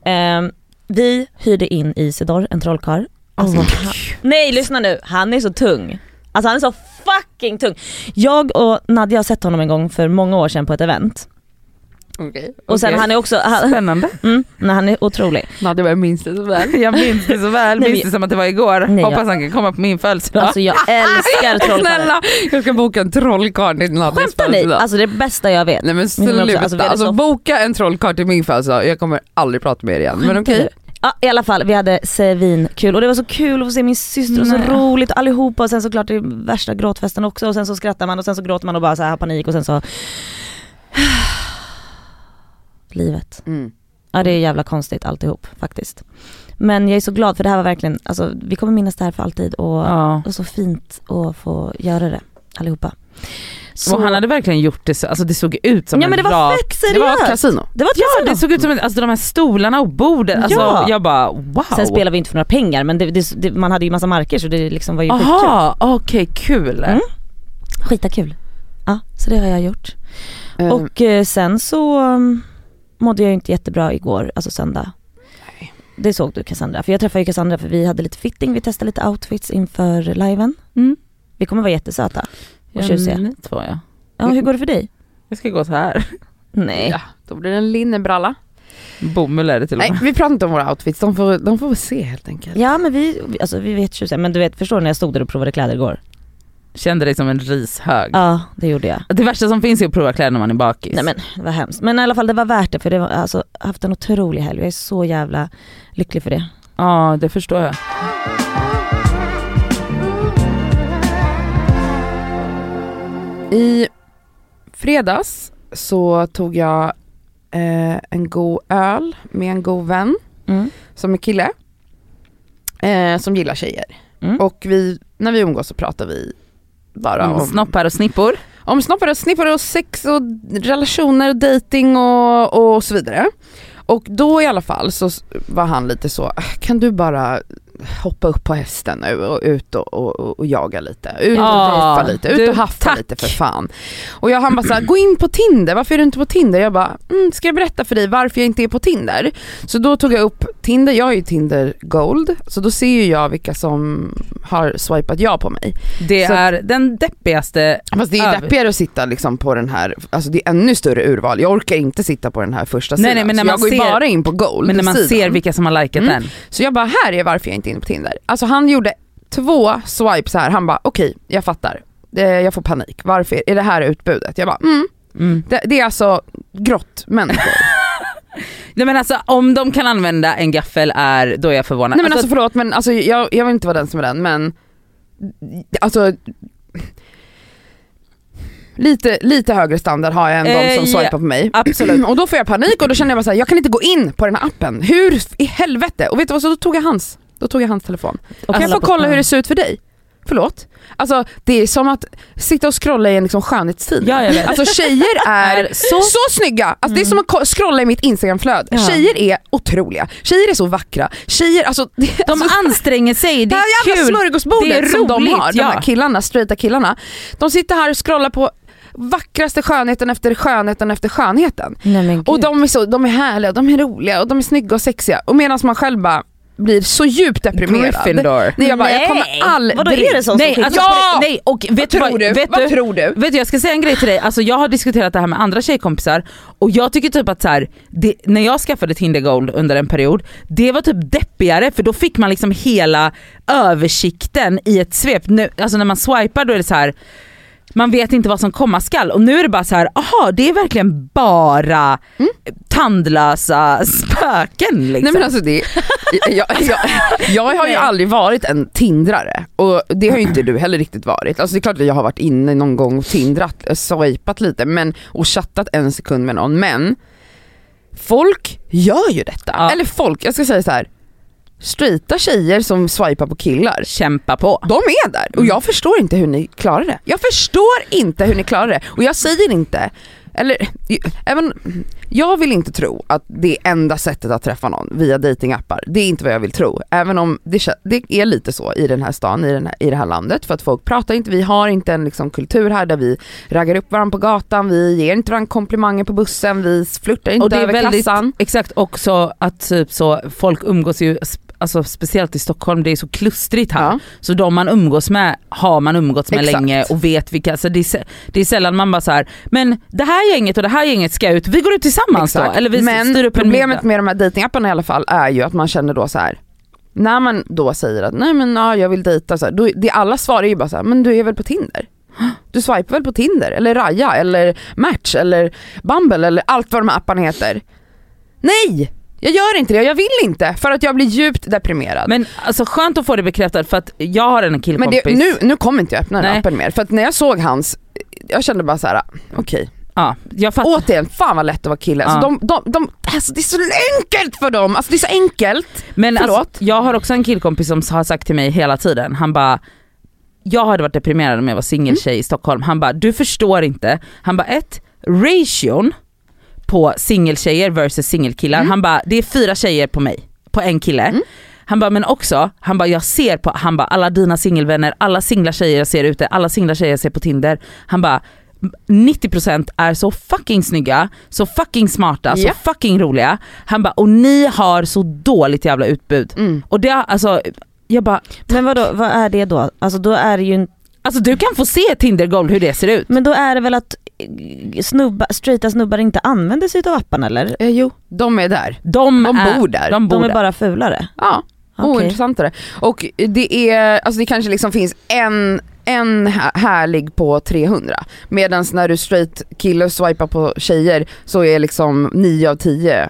Speaker 3: Ehm, vi hyrde in Isidor, en trollkarl. Alltså, han- nej lyssna nu, han är så tung. Alltså han är så fucking tung. Jag och Nadja har sett honom en gång för många år sedan på ett event.
Speaker 1: Okej.
Speaker 3: Och sen
Speaker 1: Okej.
Speaker 3: han är också, han,
Speaker 2: Spännande.
Speaker 3: mm, nej, han är otrolig.
Speaker 1: Nadja bara, jag minns det så väl.
Speaker 2: Jag minns det så väl,
Speaker 3: Nej,
Speaker 2: minns det som att det var igår.
Speaker 3: Nej,
Speaker 2: Hoppas
Speaker 3: jag-
Speaker 2: han kan komma på min födelsedag.
Speaker 3: Alltså jag älskar trollkarlar.
Speaker 1: Snälla, jag ska boka en trollkarl till Nadjas
Speaker 3: Skämtar ni?
Speaker 1: födelsedag.
Speaker 3: Alltså det är det bästa jag vet.
Speaker 1: Nej men
Speaker 3: men också,
Speaker 1: sluta,
Speaker 3: alltså,
Speaker 1: alltså,
Speaker 3: vi hade så-
Speaker 1: boka en trollkarl till min födelsedag, jag kommer aldrig prata med er igen. Men okej.
Speaker 3: Ja, I alla fall, vi hade svinkul och det var så kul att få se min syster och så
Speaker 2: Nej.
Speaker 3: roligt allihopa och sen såklart det är värsta gråtfesten också och sen så skrattar man och sen så gråter man och bara så här har panik och sen så... Livet.
Speaker 1: Mm.
Speaker 3: Ja det är jävla konstigt alltihop faktiskt. Men jag är så glad för det här var verkligen, alltså vi kommer minnas det här för alltid och,
Speaker 2: Ja.
Speaker 3: och så fint att få göra det allihopa. Så,
Speaker 2: Och han hade verkligen gjort det så, alltså det såg ut som
Speaker 3: ja
Speaker 2: en
Speaker 3: men det var
Speaker 2: rak-
Speaker 3: fett
Speaker 1: Det var ett
Speaker 3: seriöst!
Speaker 1: kasino.
Speaker 3: Det var ett
Speaker 2: Ja
Speaker 3: kasino.
Speaker 2: det såg ut som en, alltså de här stolarna och bordet, alltså
Speaker 3: Ja.
Speaker 2: jag bara wow.
Speaker 3: Sen spelade vi inte för några pengar men det, det, det, man hade ju massa marker så det liksom var ju skitkul.
Speaker 2: Aha, okej kul.
Speaker 3: Mm. Skita kul. Ja, så det har jag gjort.
Speaker 2: Mm.
Speaker 1: Och,
Speaker 3: Och eh, sen så um, mådde jag ju inte jättebra igår, alltså söndag.
Speaker 1: Nej.
Speaker 3: Det såg du Cassandra, för jag träffade ju Cassandra för vi hade lite fitting, vi testade lite outfits inför liven.
Speaker 2: Mm.
Speaker 3: Vi kommer vara jättesöta.
Speaker 2: Ja,
Speaker 3: tjusiga.
Speaker 2: ni två ja.
Speaker 3: Ja, hur går det för dig?
Speaker 2: Jag ska gå så här.
Speaker 3: Nej.
Speaker 1: ja, då blir det en linnebralla.
Speaker 2: Bomull är det till och
Speaker 1: Nej
Speaker 2: med.
Speaker 1: vi pratar inte om våra outfits, de får, de får se helt enkelt.
Speaker 3: Ja men vi, vi- alltså vi vet tjusiga, men du vet förstår du när jag stod där och provade kläder igår?
Speaker 1: Mm.
Speaker 2: Kände dig som en rishög.
Speaker 3: Ja, det gjorde jag.
Speaker 2: Det värsta som finns är att prova kläder när man är bakis.
Speaker 3: Nej men det var hemskt. Men i alla fall det var värt det för det var, alltså, jag har haft en otrolig helg jag är så jävla lycklig för det.
Speaker 2: Ja det förstår jag.
Speaker 1: I fredags så tog jag eh, en god öl med en god vän
Speaker 3: Mm.
Speaker 1: som är kille. Eh, som gillar tjejer.
Speaker 3: Mm.
Speaker 1: Och vi, när vi umgås så pratar vi bara
Speaker 2: Mm,
Speaker 1: om
Speaker 2: Snoppar och snippor.
Speaker 1: om snoppar och snippar och sex och relationer och dating och, och så vidare. Och då i alla fall så s- var han lite så, "Ah, kan du bara hoppa upp på hästen nu och ut och, och, och jaga lite, ut och
Speaker 2: Ja,
Speaker 1: haffa lite, ut
Speaker 2: du,
Speaker 1: och haffa
Speaker 2: tack.
Speaker 1: lite för fan. Och jag, han bara såhär, gå in på Tinder, varför är du inte på Tinder? Jag bara, mm, ska jag berätta för dig varför jag inte är på Tinder? Så då tog jag upp Tinder, jag är ju Tinder Gold, så då ser ju jag vilka som har swipat ja på mig.
Speaker 2: Det
Speaker 1: Så-
Speaker 2: är den deppigaste
Speaker 1: Fast det är ju
Speaker 2: Över.
Speaker 1: deppigare att sitta liksom på den här, alltså det är ännu större urval. Jag orkar inte sitta på den här första
Speaker 2: Nej,
Speaker 1: sidan.
Speaker 2: nej, men när
Speaker 1: så
Speaker 2: man
Speaker 1: jag går ju
Speaker 2: ser-
Speaker 1: bara in på gold
Speaker 2: Men när man
Speaker 1: sidan.
Speaker 2: ser vilka som har likat
Speaker 1: Mm.
Speaker 2: den.
Speaker 1: Så jag bara, här är varför jag inte är inne på Tinder. Alltså han gjorde två swipes här, han bara okej jag fattar. Eh, Jag får panik, varför är det här utbudet? Jag bara mm,
Speaker 2: Mm.
Speaker 1: det, det är alltså grått människor.
Speaker 2: Nej men alltså om de kan använda en gaffel är, då är jag förvånad.
Speaker 1: Nej men alltså förlåt men alltså, jag, jag vill inte vara den som är den men alltså Lite, lite högre standard har jag än de
Speaker 2: Eh,
Speaker 1: som
Speaker 2: ja.
Speaker 1: swipar på mig.
Speaker 2: absolut.
Speaker 1: Och då får jag panik och då känner jag bara såhär, jag kan inte gå in på den här appen. Hur i helvete? Och vet du vad, så då tog jag hans. Då tog jag hans telefon. kan
Speaker 3: Och
Speaker 2: Alltså,
Speaker 1: jag få
Speaker 3: på-
Speaker 1: kolla hur det ser ut för dig? Förlåt? Alltså det är som att sitta och scrolla i en liksom skönhetstidning.
Speaker 2: Ja, jag vet.
Speaker 1: Alltså tjejer är
Speaker 2: Är så- Mm.
Speaker 1: så, snygga! Alltså, Det är som att ko- scrolla i mitt instagramflöde.
Speaker 3: Ja.
Speaker 1: Tjejer är otroliga, tjejer är så vackra, tjejer, alltså, det,
Speaker 2: de
Speaker 1: alltså
Speaker 2: anstränger sig, det
Speaker 1: det
Speaker 2: är
Speaker 1: här jävla
Speaker 2: kul.
Speaker 1: smörgåsbordet
Speaker 2: Det är
Speaker 1: som de
Speaker 2: roligt,
Speaker 1: har, de
Speaker 2: ja.
Speaker 1: här killarna, straighta killarna. De sitter här och scrollar på vackraste skönheten efter skönheten efter skönheten.
Speaker 3: Nej, men
Speaker 1: Och
Speaker 3: gud.
Speaker 1: de är, så, de är härliga, och de är roliga och de är snygga och sexiga. Och medan man själv bara blir så djupt deprimerad.
Speaker 2: Gryffindor.
Speaker 1: Nej jag bara, jag
Speaker 3: Nej.
Speaker 1: kommer aldrig...
Speaker 3: Vadå är det sånt som
Speaker 2: Nej,
Speaker 3: skickas
Speaker 2: alltså,
Speaker 1: Ja!
Speaker 2: på det- nej och vet
Speaker 1: Vad
Speaker 2: du
Speaker 1: tror du?
Speaker 2: Vet
Speaker 1: Vad
Speaker 2: du,
Speaker 1: tror du?
Speaker 2: Vet du jag ska säga en grej till dig, alltså, jag har diskuterat det här med andra tjejkompisar och jag tycker typ att så här, det, när jag skaffade Tinder Gold under en period, det var typ deppigare för då fick man liksom hela översikten i ett svep. Nu, alltså när man swipar då är det så här man vet inte vad som komma skall och nu är det bara så här, aha det är verkligen bara tandlösa spöken liksom.
Speaker 1: Nej men alltså det, jag, jag, jag har ju
Speaker 3: Nej.
Speaker 1: aldrig varit en tindrare och det har ju inte du heller riktigt varit. Alltså det är klart att jag har varit inne någon gång och tindrat, eh, swipat lite men, och chattat en sekund med någon men folk gör ju detta.
Speaker 2: Ja.
Speaker 1: Eller folk, jag ska säga så här. straighta tjejer som swipar på killar
Speaker 2: Kämpa på.
Speaker 1: de är där och jag förstår inte hur ni klarar det. Jag förstår inte hur ni klarar det och jag säger inte, eller ju- även, jag vill inte tro att det är enda sättet att träffa någon via datingappar. Det är inte vad jag vill tro. Även om det, kä- det är lite så i den här stan, i, den här, i det här landet för att folk pratar inte, vi har inte en liksom, kultur här där vi raggar upp varandra på gatan, vi ger inte varandra komplimanger på bussen, vi flörtar inte
Speaker 2: Och det är
Speaker 1: över
Speaker 2: väldigt-
Speaker 1: kassan.
Speaker 2: Exakt också att typ så folk umgås ju sp- alltså speciellt i Stockholm, det är så klustrigt här.
Speaker 1: Ja.
Speaker 2: Så de man umgås med har man umgåtts med
Speaker 1: Exakt.
Speaker 2: länge och vet vilka, så det, är, sä- det är sällan man bara så här. men det här gänget och det här gänget ska ut, vi går ut tillsammans
Speaker 1: Exakt.
Speaker 2: då. Eller vi styr
Speaker 1: Men
Speaker 2: upp en middag.
Speaker 1: problemet med de här dejtingapparna i alla fall är ju att man känner då så här. När man då säger att nej men ja, jag vill dejta, så här, då, det alla svar är ju bara så här, men du är väl på Tinder? Du swipar väl på Tinder eller Raja eller Match eller Bumble eller allt vad de här apparna heter. Nej! Jag gör inte det och jag vill inte för att jag blir djupt deprimerad.
Speaker 2: Men alltså skönt att få det bekräftat för att jag har en
Speaker 1: Men
Speaker 2: killkompis.
Speaker 1: det, nu, nu kommer inte jag öppna den
Speaker 2: Nej.
Speaker 1: appen mer för att när jag såg hans, jag kände bara så här: okej.
Speaker 2: ja, jag fattar.
Speaker 1: Återigen, fan vad lätt att vara kille. Alltså,
Speaker 2: Ja.
Speaker 1: de, de, de, alltså, det är så enkelt för dem, alltså, det är så enkelt.
Speaker 2: Men alltså,
Speaker 1: Förlåt?
Speaker 2: jag har också en killkompis som har sagt till mig hela tiden, han bara jag hade varit deprimerad om jag var
Speaker 1: Mm.
Speaker 2: singeltjej i Stockholm. Han bara, du förstår inte. Han bara, ett, ration på singeltjejer versus singelkillar.
Speaker 1: Mm.
Speaker 2: Han bara, det är fyra tjejer på mig, på en kille. Han bara, men också, han bara, jag ser på, han bara, alla dina singelvänner, alla singla tjejer jag ser ute, alla singla tjejer jag ser på Tinder. Han bara, 90% är så fucking snygga, så fucking smarta,
Speaker 1: Ja.
Speaker 2: så fucking roliga. Han bara, och ni har så dåligt jävla utbud.
Speaker 1: Mm.
Speaker 2: Och det, har- alltså, jag bara,
Speaker 3: Men vadå, vad är det då? Alltså då är det ju en
Speaker 2: Alltså du kan få se Tinder Gold hur det ser ut.
Speaker 3: Men då är det väl att eh, snubba, straighta snubbar inte använder sig av apparna eller?
Speaker 1: Eh, jo, de är där.
Speaker 2: De,
Speaker 1: De
Speaker 2: är,
Speaker 1: bor där.
Speaker 2: äh, De bor
Speaker 3: De är
Speaker 2: där.
Speaker 3: bara fulare.
Speaker 1: Ja,
Speaker 3: Okej.
Speaker 1: ointressantare. Och det är, alltså det kanske liksom finns en, en här- härlig på 300. Medan när du straight kille swipar på tjejer så är liksom 9 av 10, eh,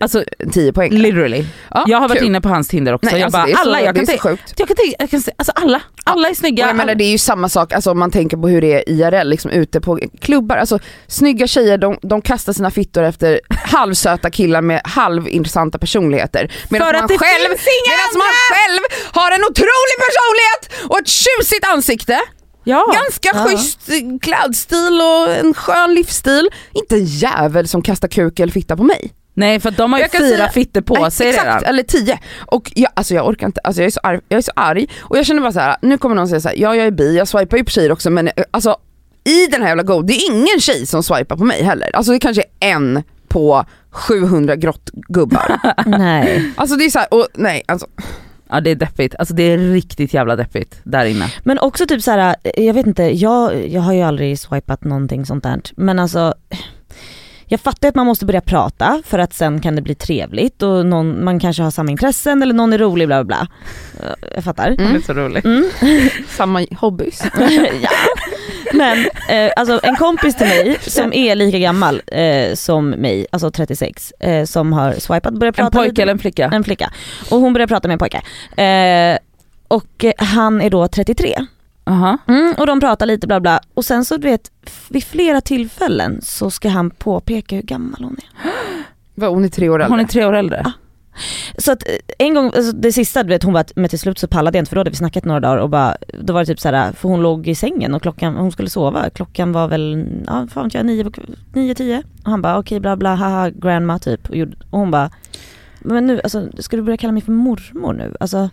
Speaker 2: Alltså
Speaker 1: 10 poäng.
Speaker 2: literally.
Speaker 1: Ja,
Speaker 2: jag har varit
Speaker 1: kul.
Speaker 2: inne på hans Tinder också.
Speaker 1: Nej,
Speaker 2: jag
Speaker 1: alltså,
Speaker 2: bara,
Speaker 1: det är så,
Speaker 2: alla, jag
Speaker 1: det
Speaker 2: kan
Speaker 1: är så
Speaker 2: tänka,
Speaker 1: sjukt.
Speaker 2: jag kan tänka, jag kan se, alltså alla, alla är snygga.
Speaker 1: Och jag menar
Speaker 2: alla-
Speaker 1: det är ju samma sak alltså, om man tänker på hur det är IRL, liksom ute på klubbar. Alltså, snygga tjejer de, de kastar sina fittor efter halvsöta killar med halvintressanta personligheter. Medan
Speaker 2: För att
Speaker 1: man
Speaker 2: det
Speaker 1: själv,
Speaker 2: finns inga
Speaker 1: medan man själv har en otrolig personlighet och ett tjusigt ansikte.
Speaker 2: ja.
Speaker 1: Ganska
Speaker 3: Ja.
Speaker 1: schysst eh, klädstil och en skön livsstil. Inte en jävel som kastar kuk eller fitta på mig.
Speaker 2: Nej för att de har ju
Speaker 1: Jag kan
Speaker 2: fyra
Speaker 1: säga-
Speaker 2: fittor på
Speaker 1: Nej,
Speaker 2: sig
Speaker 1: exakt,
Speaker 2: redan.
Speaker 1: eller tio. Och jag, alltså jag orkar inte, alltså jag, är så arg, jag är så arg och jag känner bara så här: nu kommer någon säga så här, ja jag är bi, jag swipar ju på tjejer också men eh, alltså i den här jävla go, det är ingen tjej som swipar på mig heller. Alltså det kanske är en på 700 grottgubbar.
Speaker 3: Nej.
Speaker 1: alltså det är såhär, och nej alltså.
Speaker 2: Ja det är deppigt, alltså det är riktigt jävla deppigt där inne.
Speaker 1: Mm.
Speaker 3: Men också typ så här, eh, jag vet inte, jag, jag har ju aldrig swipat någonting sånt där. Men alltså, jag fattar att man måste börja prata för att sen kan det bli trevligt och någon, man kanske har samma intressen eller någon är rolig bla bla bla. Eh, Jag fattar.
Speaker 2: Det är
Speaker 1: Mm.
Speaker 2: så roligt.
Speaker 3: Mm.
Speaker 1: Samma hobbys.
Speaker 2: Mm.
Speaker 3: ja. Men eh, alltså en kompis till mig som är lika gammal eh, som mig, alltså 36, eh, som har swipat börjat prata
Speaker 2: En pojke
Speaker 3: lite-
Speaker 2: eller en
Speaker 1: Mm.
Speaker 2: flicka?
Speaker 3: en flicka. Och hon började prata med en pojke. Eh, och eh, han är då 33.
Speaker 2: Aha.
Speaker 3: Mm, och de pratar lite bla bla och sen så du vet f- vid flera tillfällen så ska han påpeka hur gammal hon är.
Speaker 1: Vad, Hon är tre år äldre.
Speaker 2: Hon är tre år äldre.
Speaker 1: Ah.
Speaker 3: Ja. Så att eh, en gång, alltså det sista du vet hon var att men till slut så pallade jag inte för då hade vi snackat några dagar och bara, då var det typ så här, för hon låg i sängen och klockan, hon skulle sova, klockan var väl, ja fan vet jag, nio, på kv- nio, tio. Och han bara okej bla bla haha grandma typ och, gjorde, och hon bara men nu, alltså, ska du börja kalla mig för mormor nu? Alltså,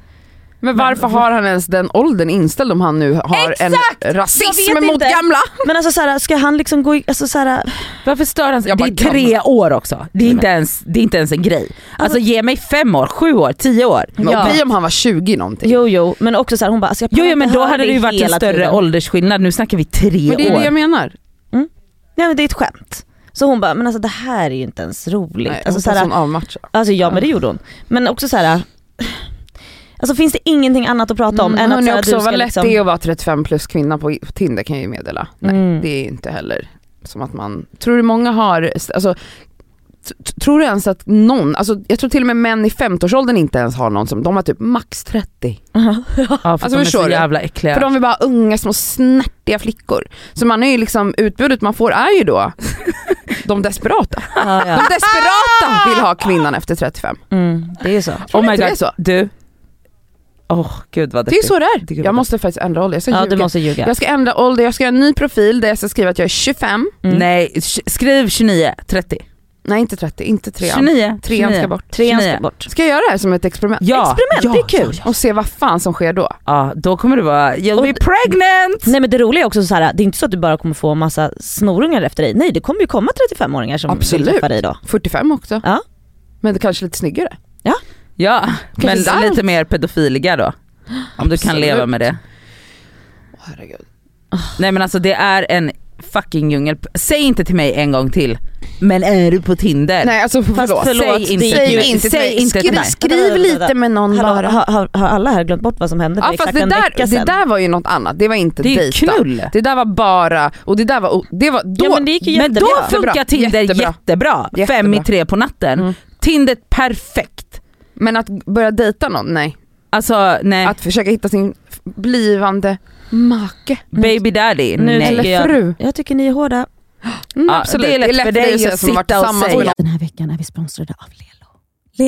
Speaker 1: Men varför har han ens den åldern inställd om han nu har en
Speaker 3: Jag
Speaker 1: rasism
Speaker 3: vet
Speaker 1: mot
Speaker 3: inte.
Speaker 1: gamla?
Speaker 3: men alltså såhär, ska han liksom gå i, alltså såhär,
Speaker 2: Varför stör han sig?
Speaker 1: Jag
Speaker 2: Det
Speaker 1: bara,
Speaker 2: är tre år också, det är, inte ens, det är inte ens en grej. Alltså ge mig fem år, sju år, tio år.
Speaker 1: Men
Speaker 3: Ja.
Speaker 1: vi om han var 20 någonting.
Speaker 3: jo jo, men också såhär hon bara alltså, jag
Speaker 2: Jo,
Speaker 3: pallar
Speaker 2: jo men
Speaker 3: inte
Speaker 2: då
Speaker 3: höra
Speaker 2: hade det
Speaker 3: dig
Speaker 2: ju varit en
Speaker 3: hela
Speaker 2: större
Speaker 3: tiden.
Speaker 2: åldersskillnad, nu snackar vi tre
Speaker 1: Men det är
Speaker 2: år.
Speaker 1: det jag menar.
Speaker 3: Nej men det är ett skämt. Så hon bara, men alltså det här är ju inte ens roligt.
Speaker 1: Nej,
Speaker 3: alltså,
Speaker 1: alltså,
Speaker 3: så här,
Speaker 1: hon avmatchar.
Speaker 3: alltså ja men det gjorde hon. Men också så här. Alltså finns det ingenting annat att prata om än att
Speaker 1: Mm, hörni
Speaker 3: så här,
Speaker 1: också,
Speaker 3: du ska
Speaker 1: vad lätt
Speaker 3: liksom...
Speaker 1: det är att vara 35 plus kvinna på på Tinder kan jag ju meddela. Nej,
Speaker 3: Mm.
Speaker 1: det är ju inte heller som att man, tror du många har, alltså, t- t- tror du ens att någon, alltså, jag tror till och med män i 50-årsåldern inte ens har någon som, de har typ max 30.
Speaker 2: Ja, för alltså, de är
Speaker 1: förstår
Speaker 2: så
Speaker 1: du?
Speaker 2: jävla äckliga.
Speaker 1: För de är bara unga små snärtiga flickor. Så man är ju liksom, utbudet man får är ju då de desperata.
Speaker 3: ja,
Speaker 1: De
Speaker 3: ja.
Speaker 1: desperata vill ha kvinnan efter 35.
Speaker 3: Mm, det är ju så.
Speaker 1: Tror du inte det är så?
Speaker 2: Oh Du. Åh gud vad
Speaker 1: Det är ju
Speaker 2: deppigt.
Speaker 1: så det är.
Speaker 2: Det är
Speaker 1: Jag måste faktiskt ändra ålder, jag ska
Speaker 3: Ja du
Speaker 1: ljuga.
Speaker 3: måste ljuga.
Speaker 1: Jag ska ändra ålder, jag ska göra en ny profil där jag ska skriva att jag är 25.
Speaker 3: Mm.
Speaker 2: Nej, sh- skriv 29, 30.
Speaker 1: Nej inte 30, inte 3.
Speaker 2: 29.
Speaker 1: Trean ska
Speaker 2: 29.
Speaker 1: bort.
Speaker 3: Trean ska
Speaker 2: 29.
Speaker 3: bort.
Speaker 1: Ska jag göra det här som ett experiment?
Speaker 2: Ja.
Speaker 3: Experiment, det är kul.
Speaker 2: Ja,
Speaker 1: Och se vad fan som sker då.
Speaker 2: ja. ja, då kommer du vara, you'll
Speaker 3: Och-
Speaker 2: be pregnant!
Speaker 3: Nej men det roliga är också så här, det är inte så att du bara kommer få massa snorungar efter dig. Nej det kommer ju komma 35-åringar som vill
Speaker 1: Absolut.
Speaker 3: träffa dig då.
Speaker 1: 45 också.
Speaker 3: Ja.
Speaker 1: Men det kanske är lite snyggare.
Speaker 2: Ja, men
Speaker 1: sant?
Speaker 2: lite mer pedofiliga då. Om du kan
Speaker 1: Absolut.
Speaker 2: leva med det.
Speaker 1: Åh, herregud.
Speaker 2: Nej men alltså det är en fucking djungel. Säg inte till mig en gång till, men är du på Tinder?
Speaker 1: Nej alltså förlåt.
Speaker 3: förlåt,
Speaker 2: säg inte
Speaker 3: det-
Speaker 2: till
Speaker 1: Säg
Speaker 2: mig.
Speaker 1: inte till
Speaker 2: Säg
Speaker 1: mig.
Speaker 2: inte till
Speaker 1: Skriv,
Speaker 2: mig.
Speaker 1: skriv lite med någon
Speaker 3: Hallå,
Speaker 1: bara.
Speaker 3: har, har, har alla här glömt bort vad som hände för
Speaker 1: Ja fast
Speaker 3: exakt
Speaker 1: det
Speaker 3: en
Speaker 1: där,
Speaker 3: vecka
Speaker 1: det
Speaker 3: sedan?
Speaker 1: där var ju något annat, det var inte
Speaker 2: Det är ju
Speaker 1: dejta.
Speaker 2: knull.
Speaker 1: Det där var bara, och det där var, o- det var då,
Speaker 3: ja men det gick ju
Speaker 2: Men
Speaker 3: jättebra.
Speaker 2: då
Speaker 1: Jättebra.
Speaker 2: funkar Tinder jättebra.
Speaker 1: Jättebra.
Speaker 2: Fem i
Speaker 1: Jättebra.
Speaker 2: tre på natten.
Speaker 1: Mm.
Speaker 2: Tinder perfekt.
Speaker 1: men att börja dejta någon, nej.
Speaker 2: Alltså nej,
Speaker 1: Att försöka hitta sin f- blivande make
Speaker 2: baby daddy,
Speaker 3: Nu
Speaker 2: nej.
Speaker 3: tycker
Speaker 1: eller
Speaker 3: jag-
Speaker 1: fru.
Speaker 3: Jag tycker ni är hårda.
Speaker 1: Mm,
Speaker 2: Ja,
Speaker 1: absolut.
Speaker 2: det är lätt för dig
Speaker 1: att säga
Speaker 2: att
Speaker 1: som har varit
Speaker 2: sitta och
Speaker 1: tillsammans
Speaker 2: säga.
Speaker 1: med någon.
Speaker 3: Den här veckan är vi sponsrade av Lelo.